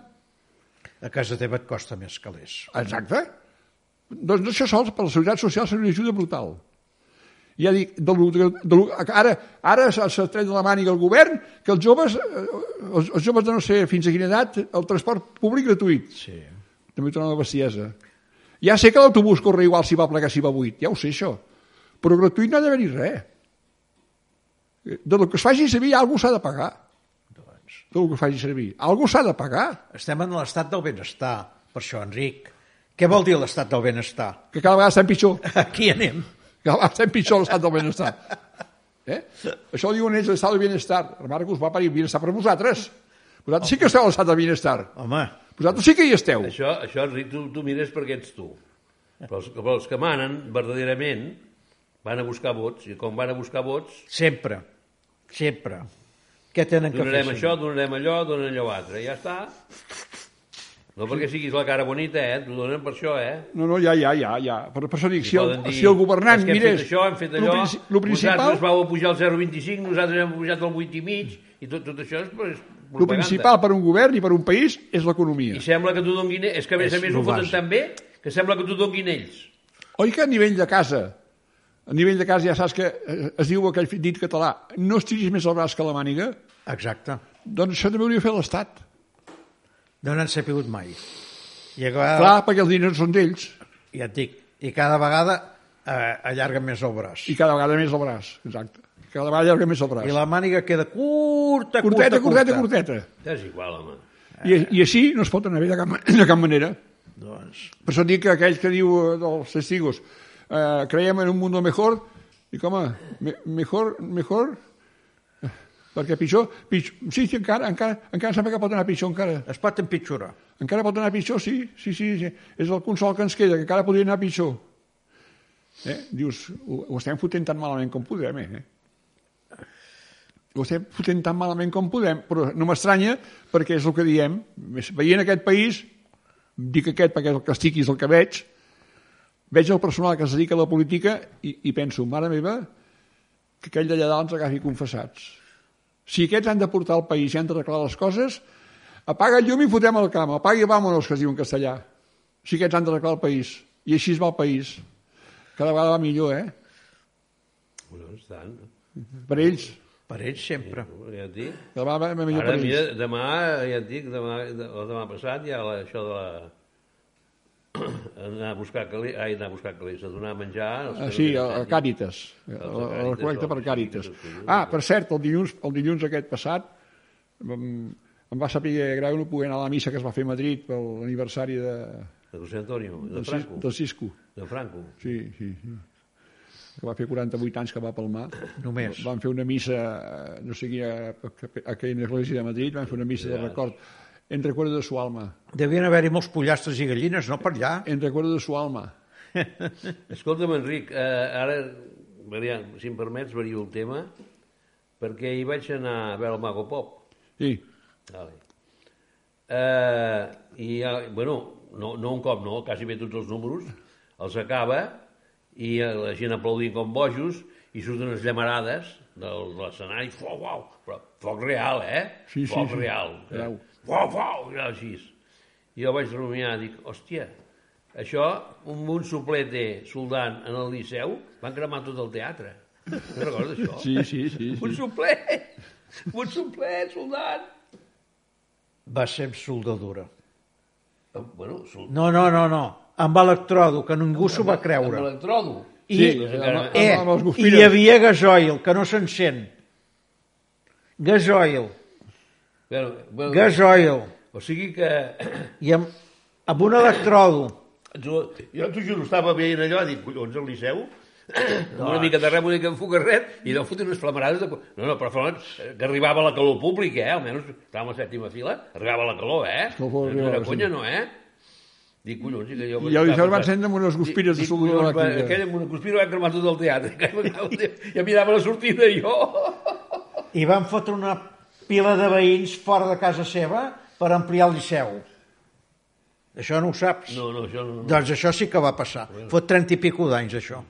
A casa teva et costa més calés. Exacte. Doncs això sols per la seguretat social seria una ajuda brutal. Ja dic, de lo, de lo, ara, ara s'ha s'ha tret de la màniga el govern que els joves, eh, els, els joves de no sé fins a quina edat, el transport públic gratuït. Sí. També torna la bestiesa. Ja sé que l'autobús corre igual si va ple que si va buit, ja ho sé això. Però gratuït no ha d'haver-hi res. Eh, De lo que es faci servir, algú s'ha de pagar. De lo que es faci servir. Algú s'ha de pagar. Estem en l'estat del benestar, per això, Enric. Què vol dir l'estat del benestar? Que cada vegada estem pitjor. Aquí anem. que va ser pitjor l'estat del benestar. Eh? Això ho diuen ells, l'estat del benestar. Marcos va parir benestar per vosaltres. Vosaltres sí que esteu a l'estat del benestar. Home, Vosaltres sí que hi esteu. Això, això Enric, tu, tu mires perquè ets tu. Però els, però els que manen, verdaderament, van a buscar vots, i com van a buscar vots, sempre, sempre. Què tenen que fer? donarem això, donarem allò, donarem allò altre, ja està. No perquè siguis la cara bonita, eh? T'ho donen per això, eh? No, no, ja, ja, ja. ja. Per, per això dic, si el, Poden dir, si el governant és que hem mirés... Fet això, hem fet allò, lo princi- Lo principal, vosaltres vau pujar el 0,25, nosaltres hem pujat el 8,5, i tot, tot això és, però és lo propaganda. principal per un govern i per un país és l'economia. I sembla que t'ho donguin... ells. És que, a més És a més, lo ho foten bàsic. tan bé que sembla que t'ho donguin ells. Oi que a nivell de casa, A nivell de cas ja saps que eh, es diu aquell dit català, no estiris més el braç que la màniga, Exacte. doncs això també hauria de fer l'Estat. No n'han sabut mai. I, a Ah. vegades, Clar, perquè els diners són d'ells ja et dic, i cada vegada eh, allarga més el braç. i cada vegada més el braç, exacte. Cada vegada llarga més el braç. I la màniga queda curta, curta, Curteta, curta. Eh. curteta, curteta. És igual, home. I, I així no es pot anar bé de cap, de cap manera. Doncs, Per això dic que aquell que diu eh, dels testigos eh, creiem en un mundo mejor, dic, home, me, mejor, mejor, Eh, perquè pitjor, pitjor, sí, sí, encara, encara, encara sembla que pot anar pitjor, encara. es pot empitjorar. Encara pot anar pitjor, sí, sí, sí, sí. és el consol que ens queda, que encara podria anar pitjor. Eh? Dius, ho, ho estem fotent tan malament com podem, eh? Ho estem fotent tan malament com podem, però no m'estranya perquè és el que diem. Més- Veient aquest país, dic aquest perquè és el que estic i és el que veig, veig el personal que es dedica a la política i, i penso, mare meva, que aquell d'allà dalt ens agafi confessats. Si aquests han de portar el país i han d'arreglar les coses, apaga el llum i fotem el camp. Apagui, vámonos, que es diu en castellà. Si aquests han d'arreglar el país. I així es va el país. Cada vegada va millor, eh? No, és tant. no? Per ells. Per ells sempre. Ja et dic. Cada vegada va millor Ara, per ells. mira, demà, ja et dic, demà, de- o demà passat, ja la, això de la... anar a buscar calés, ai, anar a buscar calés, a donar a menjar... als que Ah, no sí, tenen a, a feina. Càritas. A, a Càritas, la col·lecta per els Càritas. Càritas. Ah, per cert, el dilluns, el dilluns aquest passat em, em va saber greu no poder anar a la missa que es va fer a Madrid per l'aniversari de, De José Antonio, de del, Cis- Franco. del Cisco. De Franco. Sí, sí, sí. Que va fer 48 anys que va palmar. Només. Van fer una missa, eh, no sé qui, a, a, a aquella església de Madrid, van fer una missa de record. En recuerdo de su alma. Devien haver-hi molts pollastres i gallines, no per allà. En recuerdo de su alma. Escolta'm, Enric, eh, ara, varia, si em permets, vario el tema, perquè hi vaig anar a veure el Mago Pop. Sí, Vale. Eh, I, eh, bueno, no, no un cop, no, quasi bé tots els números, els acaba i eh, la gent aplaudint com bojos i surten les llamarades del, de l'escenari, fuau, fuau, però foc real, eh? Sí, sí, foc sí. real. Grau. Eh? Fuau, fuau, i així. I jo vaig rumiar, dic, hòstia, això, un, un suplete soldant en el Liceu, van cremar tot el teatre. No recordes això? sí, sí. sí, Un sí. suplet! Un suplet, soldant! Va ser amb soldadura. Eh, Bueno, sol... No, no, no, no. Amb electrodo, que ningú s'ho va Amb creure. electrodo. I, Sí, amb- eh, amb els i guspires. hi havia gasoil, que no s'encén. Gasoil, Bueno, bueno, gasoil. O sigui que... I amb, amb un electrodo. Jo, jo t'ho juro, estava veient allò, dic, collons, al Liceu, amb una mica de rem, una mica de fogarret, i allò fotent unes flamarades de... co- No, no, però flamarades, eh, que arribava la calor pública, eh? Almenys estàvem a la sèptima fila, arribava la calor, eh? No No, pot arribar, era sí. conya, no, eh? Dic, collons, i que jo... I ja- ja el van encendre amb unes guspires de Dic, soldadura collons, va- elèctrica. Aquella amb una guspira va cremar tot el teatre. Ja mirava la sortida, jo... I van fotre una pila de veïns fora de casa seva per ampliar el liceu. Això no ho saps. No, no, això no... no. Doncs això sí que va passar. Fot 30 i pico d'anys, això.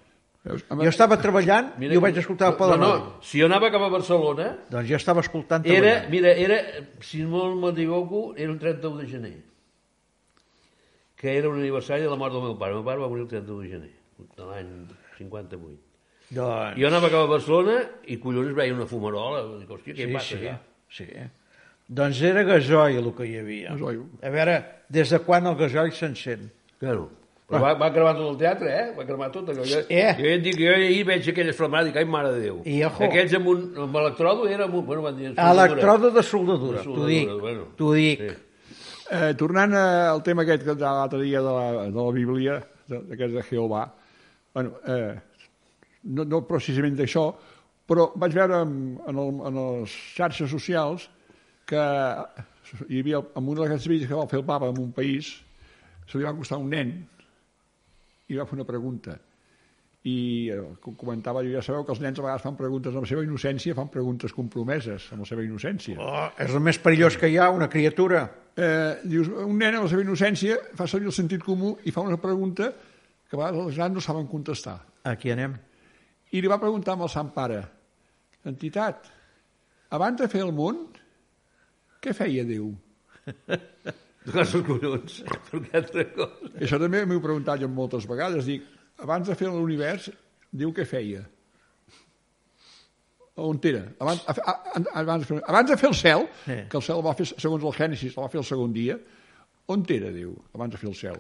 Veus? Amb- Jo estava treballant i ho que- vaig escoltar a no, Palamós. no, si jo anava cap a Barcelona, Doncs jo estava escoltant Era, treballant. mira, era, si no m'equivoco, era el 31 de gener, que era un aniversari de la mort del meu pare. El meu pare va morir el 31 de gener, de l'any 58. Doncs... Jo anava cap a Barcelona i, collons, veia una fumarola. Dic, hòstia, què Sí, sí, passa? eh? sí, allà? sí. Doncs era gasoil el que hi havia. Gasoil. A veure, des de quan el gasoil s'encén? Claro. Però va, va cremar tot el teatre, eh? Va cremar tot. Allò. Jo, Eh. jo, ja et dic, jo ahir veig aquelles flamades i dic, ai, mare de Déu. I ojo. Aquells amb un... Amb electrodo era... Amb un, bueno, van dir... Electrodo de soldadura, De t'ho soldadura, dic. bueno. T'ho dic. Sí. Eh, tornant eh, al tema aquest que de l'altre dia de la, de la Bíblia, de- d'aquest de Jehovà, bueno, eh, no, no precisament d'això, però vaig veure en, en, el, en les xarxes socials que hi havia, en una d'aquestes vídeos que va fer el papa en un país, se li va costar un nen i va fer una pregunta. I eh, com comentava, jo ja sabeu que els nens a vegades fan preguntes amb la seva innocència, fan preguntes compromeses amb la seva innocència. Oh, és el més perillós que hi ha, una criatura. Eh, dius, un nen amb la seva innocència fa servir el sentit comú i fa una pregunta que a vegades els grans no saben contestar. Aquí anem. I li va preguntar amb el Sant Pare, entitat, abans de fer el món, què feia Déu? Tocar els collons. Perquè altra cosa. I això també m'ho he preguntat jo moltes vegades, dic, abans de fer l'univers, diu què feia. On era? Abans, a, a, a- abans, abans de fer el cel, Sí. que el cel el va fer, segons el Gènesis, el va fer el segon dia, on era, diu, abans de fer el cel?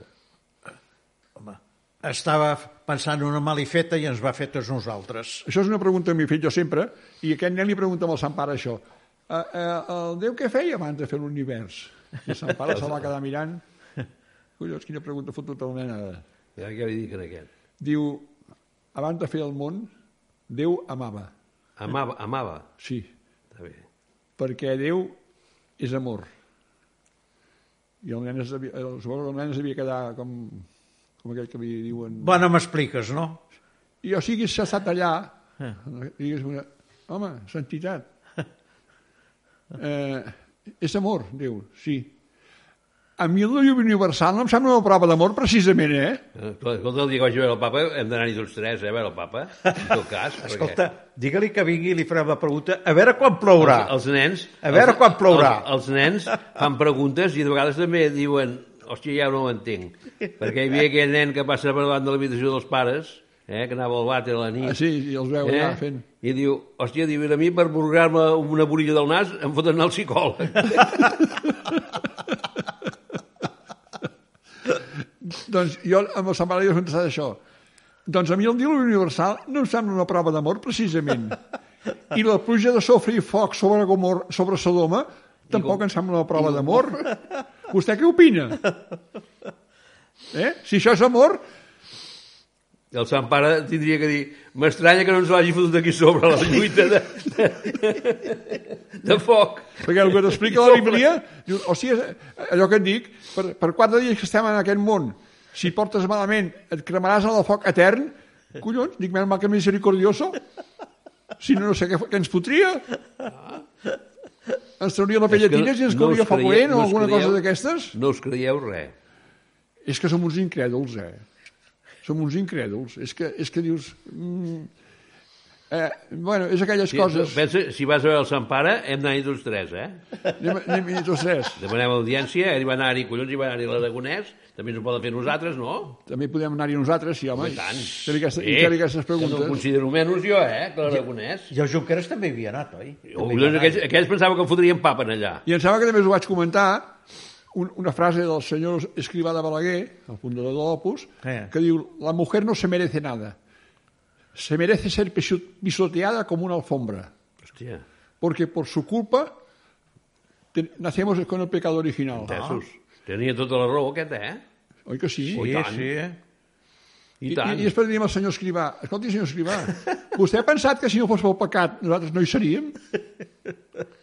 Home, estava pensant una malifeta i ens va fer tots nosaltres. Això és una pregunta que m'he fet jo sempre, i aquest nen li pregunta al Sant Pare això. Uh, uh, el Déu què feia abans de fer l'univers? I el Sant Pare se va quedar mirant. Collons, quina pregunta fotuta la nena. Ja, ja li dic en aquest. Diu, abans de fer el món, Déu amava. Amava, amava. Sí, Està bé. perquè Déu és amor. I el nen es devia, el, suposo que el nen es devia quedar com, com aquell que li diuen... Bona m'expliques, no? I o sigui, s'ha estat allà, digues, una, home, santitat. Eh, és amor, diu, sí. A mi la llum universal no em sembla una prova d'amor, precisament, eh? Eh, Escolta, escolta, el dia que vaig veure el papa, hem d'anar-hi tots tres, eh, a veure el papa, en tot cas. perquè Escolta, digue-li que vingui i li farem la pregunta a veure quan plourà. Els, els nens... A veure els- quan plourà. Els, els nens fan preguntes i de vegades també diuen hòstia, ja no ho entenc, perquè hi havia aquell nen que passava per davant de l'habitació dels pares, eh, que anava al vàter a la nit, eh, Ah, sí, i els veu allà fent... i diu, hòstia, diu, a mi per burgar-me una borilla del nas em foten anar al psicòleg. Doncs jo amb el Sant Pare li he contestat això. Doncs a mi el dia de universal no em sembla una prova d'amor, precisament. I la pluja de sofre i foc sobre, Gomor, sobre Sodoma tampoc em sembla una prova d'amor. Vostè què opina? Eh? Si això és amor, El Sant Pare tindria que dir m'estranya que no ens l'hagi fotut aquí sobre la lluita de, de, de foc. Perquè el que t'explica la Bíblia, diu, o sigui, allò que et dic, per, per quatre dies que estem en aquest món, si portes malament, et cremaràs en el foc etern, collons, dic, menys mal que misericordioso, si no, no sé què, fa- què ens fotria. Ens trauria la pelletina i ens no us cauria no creieu- favorent o no us alguna creieu- cosa d'aquestes. No us creieu res. És que som uns incrèduls, eh? Som uns incrèduls. És que, és que dius... Mm, eh, bueno, és aquelles Si, coses... pensa, si vas a veure el Sant Pare, hem d'anar-hi tots tres, eh? Anem, anem, anem, tots tres. Demanem audiència, ell va anar-hi, collons, hi va anar-hi l'Aragonès, també ens ho poden fer nosaltres, no? També podem anar-hi nosaltres, sí, home. I tant. Fer-li aquestes, i fer-li aquestes Que no ho preguntes. considero menys jo, eh, que l'Aragonès. I el Junqueras també hi havia anat, oi? Oh, També hi va collons, anar. aquells, aquells pensava que em fotrien papen allà. I em sembla que també us ho vaig comentar, un, una frase del senyor Escrivà de Balaguer, el fundador de l'Opus, Eh. que diu, la mujer no se merece nada. Se merece ser piso- pisoteada como una alfombra. Hòstia, Porque por su culpa te- nacemos con el pecado original. tesos. Tenia tota la raó aquest, eh? Oi que sí? Sí, tant. sí, eh? I, I, tant. i, I després diem al senyor Escrivà, escolti, senyor Escrivà, vostè ha pensat que si no fos pel pecat nosaltres no hi seríem?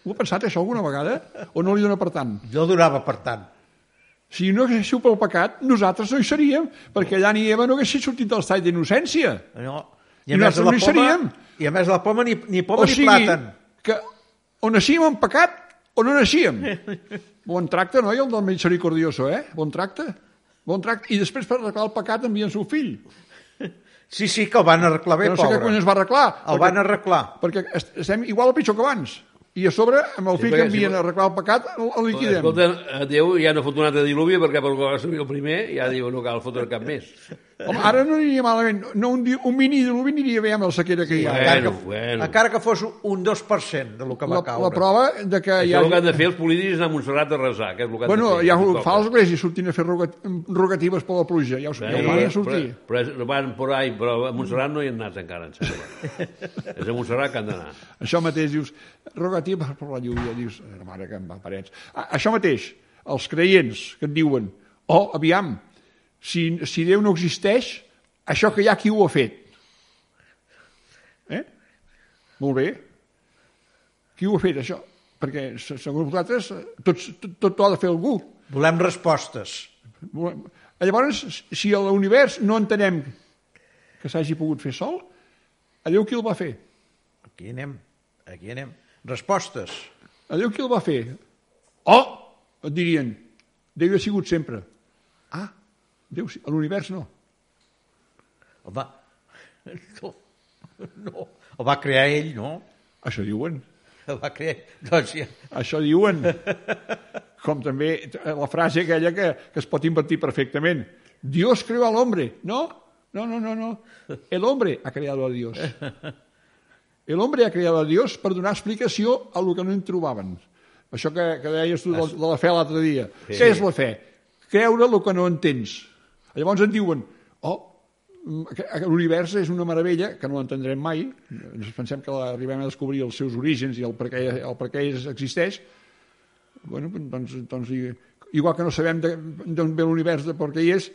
Ho ha pensat això alguna vegada? O no li dona per tant? No donava per tant. Si no haguéssiu pel pecat, nosaltres no hi seríem, perquè Adán i Eva no haguessin sortit del estat d'innocència. No. I nosaltres no hi seríem. I a més de la poma ni, ni poma O ni sigui, plàtan. que o naixíem en pecat o no naixíem. Bon tracte, noi, el del misericordioso, eh? Bon tracte. Bon tracte. I després per arreglar el pecat envien seu fill. Sí, sí, que el van arreglar bé, Que no sé pobre. què cony es va arreglar. El van arreglar. perquè est- estem igual o pitjor que abans. I a sobre, amb el Sí, fill que perquè envien a si- arreglar el pecat, el, el liquidem. Escolta, a Déu ja no fot un altre diluvi perquè pel que va servir el primer ja diu no cal fotre cap més. Home, ara no aniria malament. No, un, di- un mini diluvi aniria bé amb la sequera que hi ha. Bueno, encara, que, bueno. encara que fos un 2% de lo que va la, caure. la prova de que hi Això ha... el que han de fer els polítics és anar a Montserrat a resar, que és el que han Bueno, de fer. ja ho Toca. fa l'església sortint a fer rogat, rogatives per la pluja. Ja ho, ja Bé, ho van però- a sortir. Eh, Però, però, van por ahí, però a Montserrat no hi han anat encara, em sembla. és a Montserrat que han d'anar. Això mateix dius, rogatives per la lluvia. Dius, "Ah, mare que em va parets. A, això mateix, els creients que et diuen, oh, aviam, si, si Déu no existeix, això que hi ha qui ho ha fet. Eh? Molt bé. Qui ho ha fet, això? Perquè, se- segons vosaltres, tots, tot, tot ho ha de fer algú. Volem respostes. Volem- Llavors, si a l'univers no entenem que s'hagi pogut fer sol, a Déu qui el va fer? Aquí anem, aquí anem. Respostes. A Déu qui el va fer? O, et dirien, Déu hi ha sigut sempre. Ah, Déu, sí- a l'univers no. El va... No, no. El va crear ell, no? Això diuen. El va crear ell. Doncs ja, Això diuen. Com també la frase aquella que, que es pot invertir perfectament. Dios creó a l'hombre. No, No, no, no, no. El hombre ha creado a Dios. El hombre ha creado a Dios per donar explicació a lo que no en trobaven. Això que, que deies tu de, de la fe l'altre dia. Sí. Què és la fe? Creure el que no entens. Llavors en diuen, oh, mm, que- que l'univers és una meravella que no l'entendrem mai, ens pensem que arribem a descobrir els seus orígens i el per què, el per què és- existeix, bueno, doncs, doncs, i- igual que no sabem de- d'on ve l'univers, de per què hi és,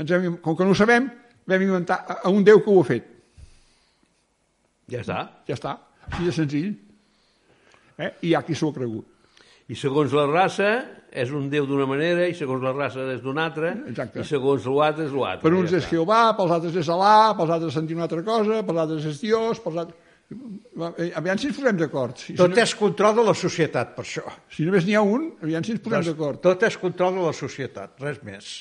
ens hem, com que no ho sabem, vam inventar a, a un Déu que ho ha fet. Ja està. Ja està, així de senzill. Eh? I hi ha qui s'ho ha cregut. I segons la raça, és un déu d'una manera, i segons la raça és d'una altra, Exacte. i segons l'altre és l'altre. Per uns ja és està. Jehovà, pels altres és Alà, pels altres sentim una altra cosa, pels altres és Dios, pels altres... Va, eh, Aviam si ens posem d'acord. Si, Tot si, és control de la societat, per això. no, si només n'hi ha un, aviam si ens posem Doncs d'acord. Tot és control de la societat, res més.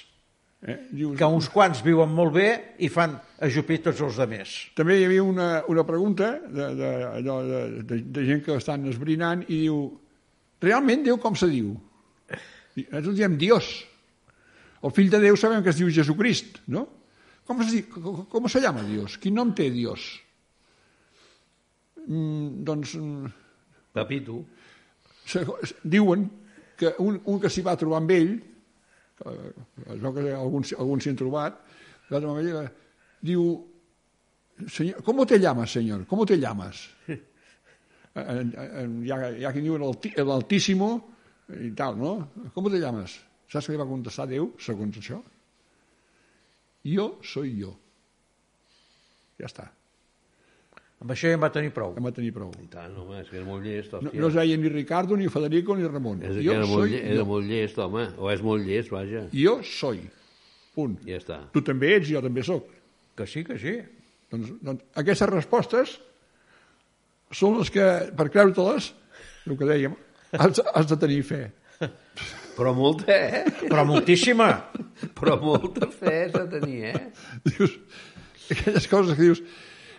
Eh? Dius, Que uns quants viuen molt bé i fan ajupir tots els demés. També hi havia una, una pregunta de, de, allò de, de, de gent que estan esbrinant i diu, realment Déu com se diu? I Nosaltres diem Dios. El fill de Déu sabem que es diu Jesucrist, no? Com se, di- com, com se llama Dios? Quin nom té Dios? Mm, doncs mm, Papito. segons, diuen que un, un que s'hi va trobar amb ell, que, eh, es veu que alguns, alguns s'hi han trobat, va trobar amb ell, eh, diu, senyor, ¿cómo te llamas, senyor? ¿Cómo te llamas? Eh, eh, eh, Hi ha, hi ha qui diuen "Alti- l'altíssimo i tal, no? ¿Cómo te llamas? Saps què li va contestar Déu, segons això? Jo soy jo. Ja està, Amb això ja en va tenir prou. hem de tenir prou. I tant, home, és que era molt llest, No, hòstia. no es deia ni Ricardo, ni Federico, ni Ramon. és que Jo era, molt, soy lle- jo. era molt llest, home. O és molt llest, vaja. Jo soy. Punt. Ja està. Tu també ets, jo també sóc. Que sí, que sí. Doncs, doncs aquestes respostes són les que, per creure-te-les, el que dèiem, has, has de tenir fe. Però molta, eh? Però moltíssima. Però molta fe s'ha de tenir, eh? Dius, aquelles coses que dius...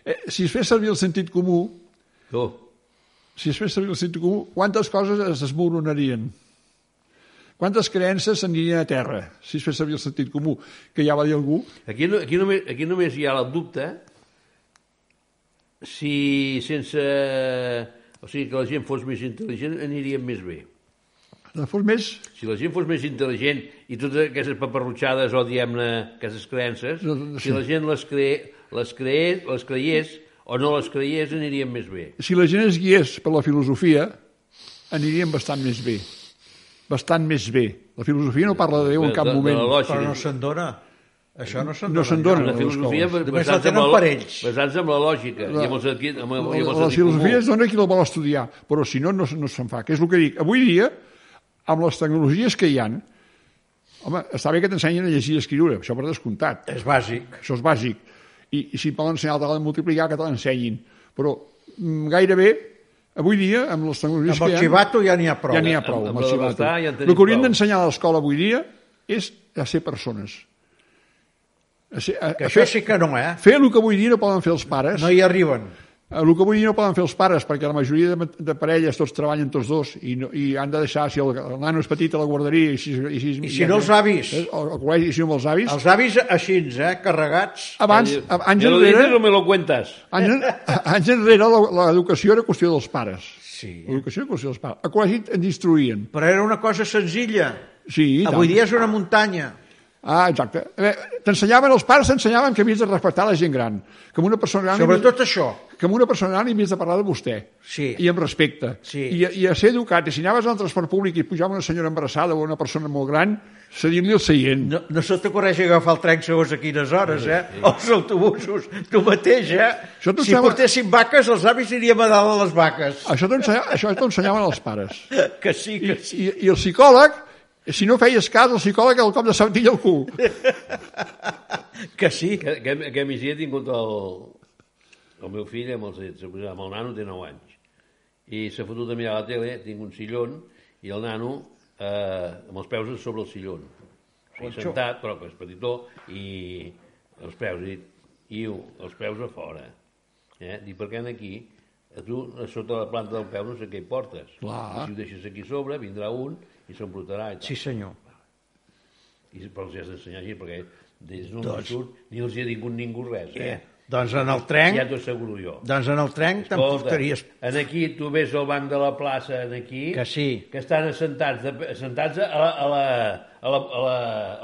Eh, si es fes servir el sentit comú, Tu, si es fes servir el sentit comú, quantes coses es desmoronarien? Quantes creences s'anirien a terra si es fes servir el sentit comú? Que ja va dir algú, aquí, no, aquí, només, aquí només hi ha el dubte si sense... O sigui, que la gent fos més intel·ligent aniríem més bé. de fos més, Si la gent fos més intel·ligent i totes aquestes paperrutxades o, diguem-ne, aquestes creences, No, no, si la gent les, cre, les, creés, les creiés o no les creiés, aniríem més bé. si la gent es guiés per la filosofia, aniríem bastant més bé. Bastant més bé. La filosofia no parla de Déu en cap de, moment. De la lògica. Però no se'n dona. Això no se'n No dona. se'n dona. la les filosofia escoles. Només basant-se la tenen en la- per ells. basant-se en la lògica i amb el sentit, amb, el- i uh, amb la, el la sentit filosofia comú. és dona qui la vol estudiar, però si no, no, se- no se'n fa. Que és el que dic. Avui dia, amb les tecnologies que hi han, home, està bé que t'ensenyen a llegir i escriure, això per descomptat, És bàsic. això és bàsic. I, i si et poden ensenyar a multiplicar, que te l'ensenyin. Però mm, gairebé, avui dia, amb les tecnologies Amb el que hi ha... xivato ja n'hi ha prou. eh? ja n'hi ha Amb- prou. amb Amb, la el d'abastar cibato. ja en tenim el que hauríem prou. d'ensenyar a l'escola avui dia és a ser persones. A ser, a, Que a això fer, sí que no, eh? fer el que avui dia no poden fer els pares. Eh, No hi arriben. El que avui dia no poden fer els pares, perquè la majoria de, de parelles tots treballen tots dos i, no, i han de deixar, si el, el nano és petit, a la guarderia i si, i si, I si no, els avis. eh, Al, al col·legi, i si no amb els avis. Els avis així, eh? Carregats. Abans, Ja ab- lo anys dices o enrere, me lo cuentas? anys, en- anys enrere la- l'educació era qüestió dels pares. Sí. L'educació era qüestió dels pares. A col·legi ens instruïen. Però era una cosa senzilla. Sí, i tant. Avui dia és una muntanya. Ah, exacte. A veure, T'ensenyaven, els pares t'ensenyaven que havies de respectar la gent gran. Que amb una persona gran... Sobretot això. que amb una persona gran hi havies de parlar de vostè. Sí. I amb respecte. Sí. I, a- I a ser educat. I si anaves al transport públic i pujava una senyora embarassada o una persona molt gran, cedir-li el seient. No, no se t'acorreix agafar el tren segons a quines hores, eh? O els autobusos, tu mateix, eh? Això t'ho Si sembla- portéssim vaques, els avis iríem a dalt a les vaques. Això t'ensenya- això t'ensenyaven els pares. Ah, Que sí, I, que sí. i, I el psicòleg, si no feies cas, el psicòleg el cop de sentilla al cul. Que sí. Que, que, que a migdia he tingut el, el meu fill amb els dits, amb el nano té 9 anys. I s'ha fotut a mirar la tele, tinc un sillon, i el nano eh, amb els peus sobre el sillon. O sigui, sentat, però que és petitó, i els peus, i, iu, els peus a fora. Eh? Dic, per què aquí? A tu, a sota la planta del peu, no sé què hi portes. Clar. I si ho deixes aquí sobre, vindrà un i s'embrutarà. i tal. Sí, senyor. I, però els hi has d'ensenyar així, perquè Des d'un discurs ni els hi ha tingut ningú res, eh? Eh, doncs en el tren, Ja t'ho asseguro jo. doncs en el tren tampoc estaries... en aquí tu ves al banc de la plaça, en aquí, Que sí. que estan assentats, de, assentats a la, a la, a la, a la,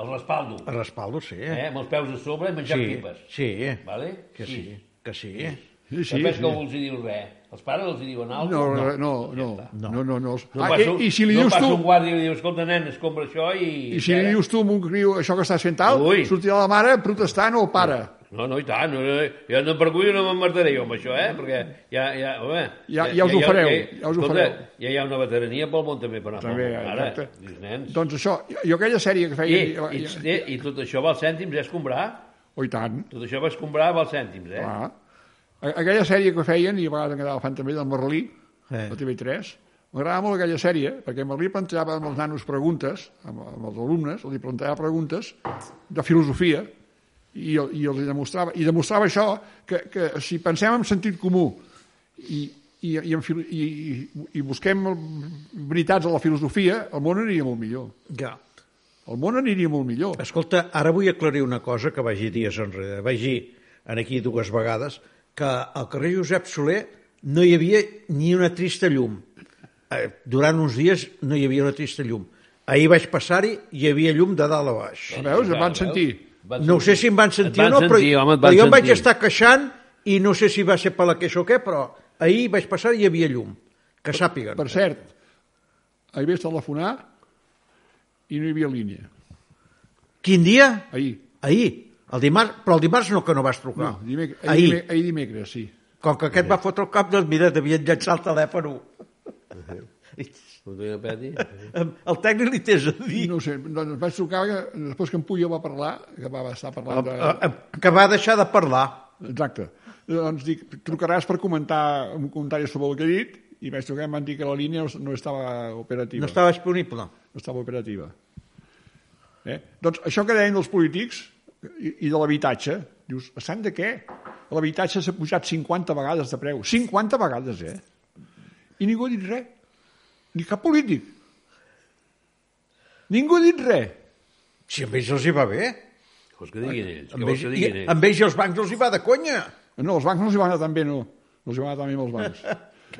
al respaldo, A respaldo, sí. eh? amb els peus a sobre, Ah, menjant Sí, pipes. sí. Vale? Que sí, que sí. Sí, Sí, sí. Després sí. que algú els hi diu res. Els pares els hi diuen No, alguna no, no, cosa? no, no, no, no, no. No Ah, passa, i, I si li no dius passa tu, un guàrdia i li diu, escolta, nen, es compra això i... i si li Espera. dius tu amb un criu això que està sent alt, Ui. sortirà la mare protestant o el pare. No, no, i tant. No, no, jo no per cuir no m'emmartaré jo amb això, eh? Perquè ja... Ja, home, Ja- ja us ho fareu, ja us ho escolta, fareu. Ja hi ha una veterania pel món també per anar També, pel món, ara. exacte. Dius, nens... Doncs això, jo aquella sèrie que I, feia... i, i, I tot això val cèntims, és comprar. Oh, i tant, Tot això vas comprar val cèntims, eh? clar. Ah. A- Aquella sèrie que feien, i a vegades encara la fan també, del Merlí, Eh. el TV3, m'agradava molt aquella sèrie, perquè Merlí plantejava amb els nanos preguntes, amb, amb els alumnes, li plantejava preguntes de filosofia, i, el- i els hi demostrava, i demostrava això, que, que si pensem en sentit comú i, i, i, en, fil- i, i, i busquem veritats a la filosofia, el món aniria molt millor. Ja. El món aniria molt millor. Escolta, ara vull aclarir una cosa que vaig dir dies enrere. Vaig dir en aquí dues vegades que al carrer Josep Soler no hi havia ni una trista llum. Eh, Durant uns dies no hi havia una trista llum. Ahir vaig passar-hi i hi havia llum de dalt a baix. Veus? Em van Veus? sentir. Van No ho sé sentir. si em van sentir Et van o no, però, sentir, home, et però van jo em vaig sentir. estar queixant i no sé si va ser per la queixa o què, però ahir vaig passar i hi havia llum. Que sàpiguen. Per cert, ahir vaig telefonar i no hi havia línia. Quin dia? Ahir. Ahir. El dimarts, però el dimarts no, que no vas trucar. No, dimec ahir, ahir. dimec ahir dimecres, sí. Com que aquest va fotre el cap, doncs mira, devien llançar el telèfon. Ho tenia peti. El tècnic li tens a dir. No ho sé, doncs vaig trucar, que- després que en Puyo va parlar, que va estar parlant de... Eh, eh, Que va deixar de parlar. Exacte. Doncs dic, trucaràs per comentar un comentari sobre el que he dit, i vaig trucar i em van dir que la línia no- no estava operativa. No estava disponible. no estava operativa. Eh? Doncs això que deien dels polítics i, i de l'habitatge, dius, estan de què? L'habitatge s'ha pujat 50 vegades de preu. 50 vegades, eh? I ningú ha dit res. Ni cap polític. Ningú ha dit res. Si amb ells els hi va bé. Vols que diguin ells? Què Amb vols ells, que i, diguin ells? amb ells i els bancs els hi va de conya. No, els bancs no els hi van anar tan bé, no. No els hi van anar tan bé amb els bancs.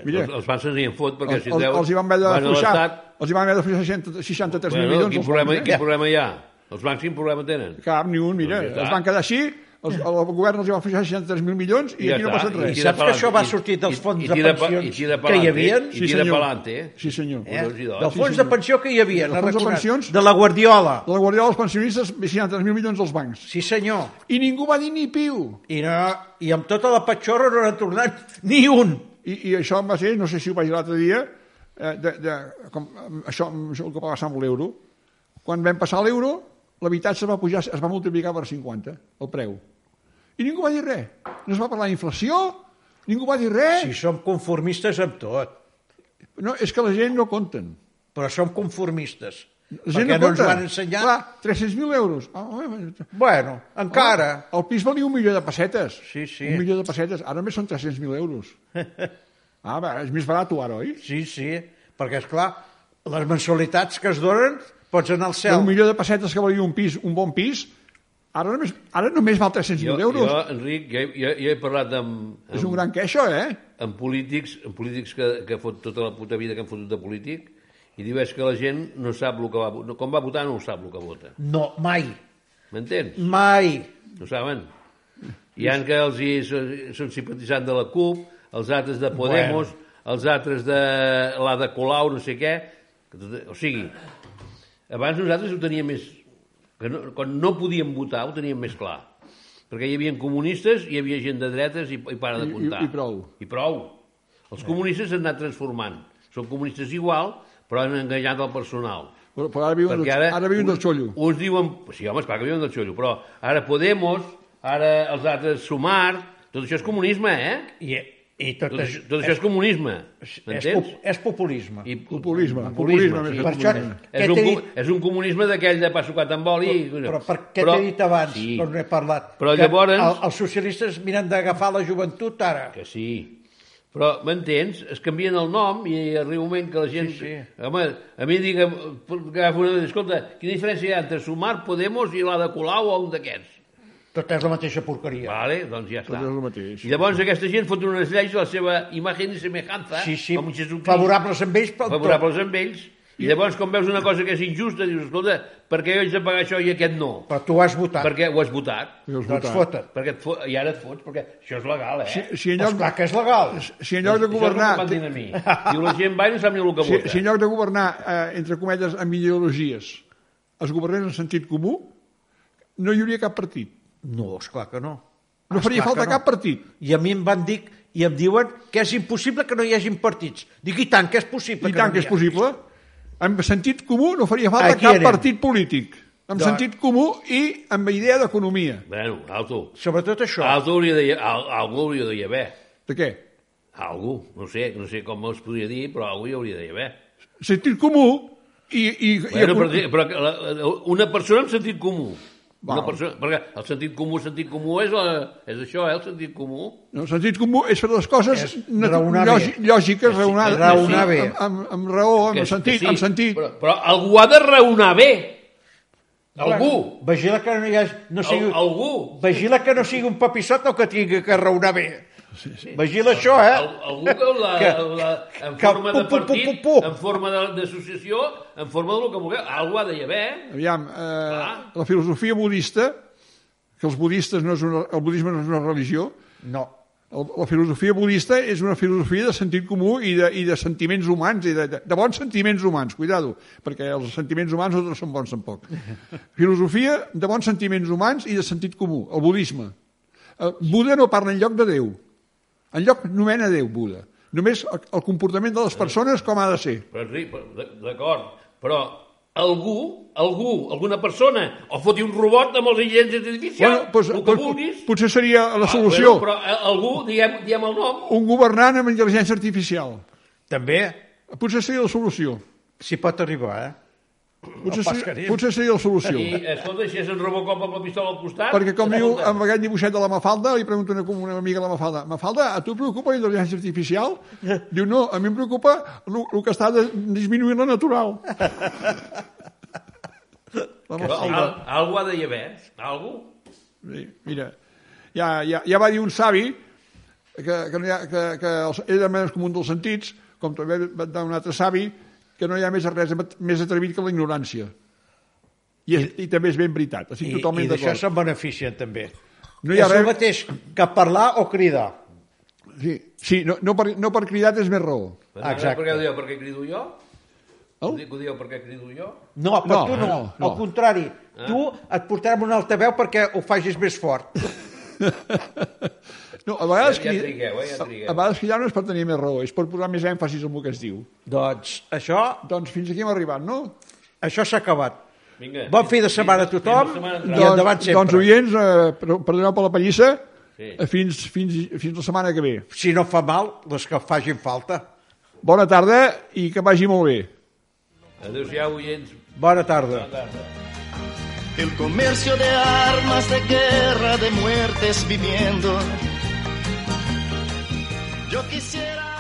Mira, Doncs Els, els fans se'n en fot, perquè els, si els, deuen... els hi van haver de van a fluixar. l'estat, Els hi van haver de fluixar 60 63.000 Bueno, milions. quin, els problema, bancs, eh? quin problema hi ha? Els bancs quin problema tenen? Cap, ni un, mira. Doncs ja està. es van quedar així, els, el govern els hi va fixar 63.000 milions i, ja aquí no ha està, passat res. tira Saps que pa'lante, això va i- sortir dels i- fons i de tira pa- pensions i tira que pa'lante, hi havien? I tira pelante. Sí, senyor. Eh? Collons i dos. Del Sí, fons de pensió que hi havia, Del fons de pensions? de la Guardiola. La guardia dels pensionistes, 63.000 milions als bancs. Sí, senyor. I ningú va dir ni piu. I, no, I amb tota la petxorra no n'ha tornat ni un. I, I això em va ser, no sé si ho vaig dir l'altre dia, eh, de, de, com, eh, això, això el que va passar amb l'euro. Quan vam passar l'euro, l'habitatge es va pujar, es va multiplicar per 50, el preu. I ningú va dir res. No es va parlar d'inflació, ningú va dir res. Si som conformistes amb tot, No, és que la gent no compten. però som conformistes. La gent perquè no no ens compta. van ensenyar... Clar, 300.000 euros. Ah, home, Bueno, encara. El pis valia un milió de pessetes. Sí, sí. Un milió de pessetes. Ara només són 300.000 euros. Ah, va, és més barat ara, oi? Sí, sí, perquè, és clar les mensualitats que es donen pots anar al cel. Un milió de pessetes que valia un pis, un bon pis, ara només, ara només val 300.000 euros. Jo, Enric, ja, he- ja, ja he parlat amb, És un amb, gran queixo, eh? amb polítics, amb polítics que, que fot tota la puta vida que han fotut de polític, i diu és que la gent no sap el que va, vo- no, com va votar no ho sap el que vota. No, mai, M'entens? mai. No saben. Hi ha que els hi, so- són simpatitzants de la CUP, els altres de Podemos, bueno. els altres de la de Colau, no sé què. que tot- O sigui, abans nosaltres ho teníem més... Que no, quan no podíem votar ho teníem més clar. Perquè hi havia comunistes, hi havia gent de dretes i, i para de I- i- comptar. i prou. I prou. Els comunistes s'han anat transformant. Són comunistes igual, però han enganyat el personal. Però, però ara viuen, Perquè ara, ara viuen del uns- xollo. Uns diuen... Sí, home, esclar que viuen del xollo, però ara Podemos, ara els altres Sumar... Tot això és comunisme, eh? I, i tot, Tot, tot, això, tot això és comunisme, és, és, m'entens? pop- és populisme. I, I- Populisme, populisme, sí. més per això, És què t'he un, com- dit, és un comunisme d'aquell de pa sucat amb oli... i- però per què t'he dit abans, Sí, quan n'he parlat? Però que llavors- El, els socialistes miren d'agafar la joventut ara. que sí. Però, m'entens? Es canvien el nom i arriba un moment que la gent... Sí, sí. Home, a mi digue'm, agafa una... Escolta, quina diferència hi ha entre Sumar, Podemos i la de Colau o un d'aquests? Tot és la mateixa porqueria. Vale, doncs ja està. Tot és el mateix. I llavors aquesta gent fot unes lleis de la seva imatge i semejanza, Sí, sí, com Jesucrist, favorables amb ells, però... favorables amb ells, i llavors quan veus una cosa que és injusta dius, escolta, per què jo haig de pagar això i aquest no? Però tu has votat. Perquè ho has votat. I els Doncs votants. foten. Perquè et fot, I ara et fots, perquè això és legal, eh? Si, si, en Lloc... lloc, Esclar que és legal. si en lloc de governar... Això és el Doncs que em van dir a mi. Diu, la gent va i no sap ni el que Si, vota. si en lloc de governar, eh, entre cometes, amb ideologies, es governés en sentit comú, no hi hauria cap partit. No, esclar que no. No faria Esclar falta que cap partit. I a mi em van dir i em diuen que és impossible que no hi hagin partits. Dic, i tant que és possible. I tant no que n'hi és ha. possible. En sentit comú no faria falta Aquí cap anem. partit polític. En Doncs- sentit comú i amb idea d'economia. Bueno, alto. Sobretot això. Alto hauria de, hi- al, algú hauria d'hi haver. De què? Algú. No sé, no sé com es podria dir, però algú hi hauria d'hi haver. Sentit comú i... i, Bueno, i però, però que la, una persona amb sentit comú. Una Val. persona, perquè el sentit comú, el sentit comú és, la, és això, eh, el sentit comú. No, el sentit comú és fer les coses És nat- raonar lògi- bé. lògiques, raonades, raonar bé. amb, amb, amb raó, amb Que- sentit, que amb sentit. Però, però algú ha de raonar bé. Algú. Vigila que no hi hagi... No sigui... Al, algú. Vigila que no sigui un papissot o que tingui que raonar bé. Sí, sí. Vigila això, eh? Al, algú que, la, Que- la, en que- forma de pu, pu, pu, partit, pu, pu. en forma de- d'associació, en forma del que vulgueu. Algú ha de hi haver. Aviam, eh, Clar. la filosofia budista, que els budistes no és una, el budisme no és una religió, No. el, la filosofia budista és una filosofia de sentit comú i de, i de sentiments humans, i de, de, de bons sentiments humans, cuidado, perquè els sentiments humans no tots són bons tampoc. filosofia de bons sentiments humans i de sentit comú, el budisme. Eh, Buda no parla en lloc de Déu. En lloc nomena Déu, Buda. Només el, el comportament de les persones com ha de ser. Però, Enric, però, d- d'acord, però algú, algú, alguna persona, o foti un robot amb els agents artificials, bueno, pues, el que pues, vulguis... doncs, potser seria la Ah, solució. Bueno, però eh, algú, diguem, diguem el nom, un governant amb intel·ligència artificial. També Potser seria la solució. s'hi pot arribar, eh? Potser, pas seria, carim. potser seria la i solució. escolta, si és en Robocop amb la pistola al costat... eh, Perquè com diu escolta, amb aquest dibuixet de la Mafalda, li pregunto una, una amiga a la Mafalda, Mafalda, a tu et preocupa la intel·ligència artificial? Diu, no, a mi em preocupa el que està de, disminuint la natural. La però Mafalda. al, algú ha de hi haver, algú. Sí, Mira, ja, ja, ja va dir un savi que, que, no hi ha, que, que els, era més comú dels sentits, com també va dir un altre savi, que no hi ha més res at- més atrevit que la ignorància. I, és, i també és ben veritat, estic I, I, totalment i d'això d'acord. se'n beneficien, també. No hi ha és el res- mateix que parlar o cridar. Sí, sí no, no, per, no per cridat és més raó. Exacte. Per què ho dieu? Perquè crido jo? El? Ho dic, ho dieu perquè crido jo? No, però No, tu no, no, no. al contrari. Tu et portarem un altaveu perquè ho facis més fort. No, a vegades, Ja- ja cridar- trigueu, eh, ja a, trigueu. a vegades cridar no és per tenir més raó, és per posar més èmfasis en el que es diu. Doncs això, Doncs fins aquí hem arribat, no? això s'ha acabat. Vinga. Bon fi de setmana a tothom Fins la setmana i entrant. endavant Doncs, doncs sempre. oients, eh, per- perdoneu per la pallissa, Sí. eh, fins, fins, fins la setmana que ve. Si no fa mal, les que facin falta. Bona tarda i que vagi molt bé. Adéu-siau, oients. Bona tarda. El comercio de armas de guerra, de muertes viviendo. Yo quisiera.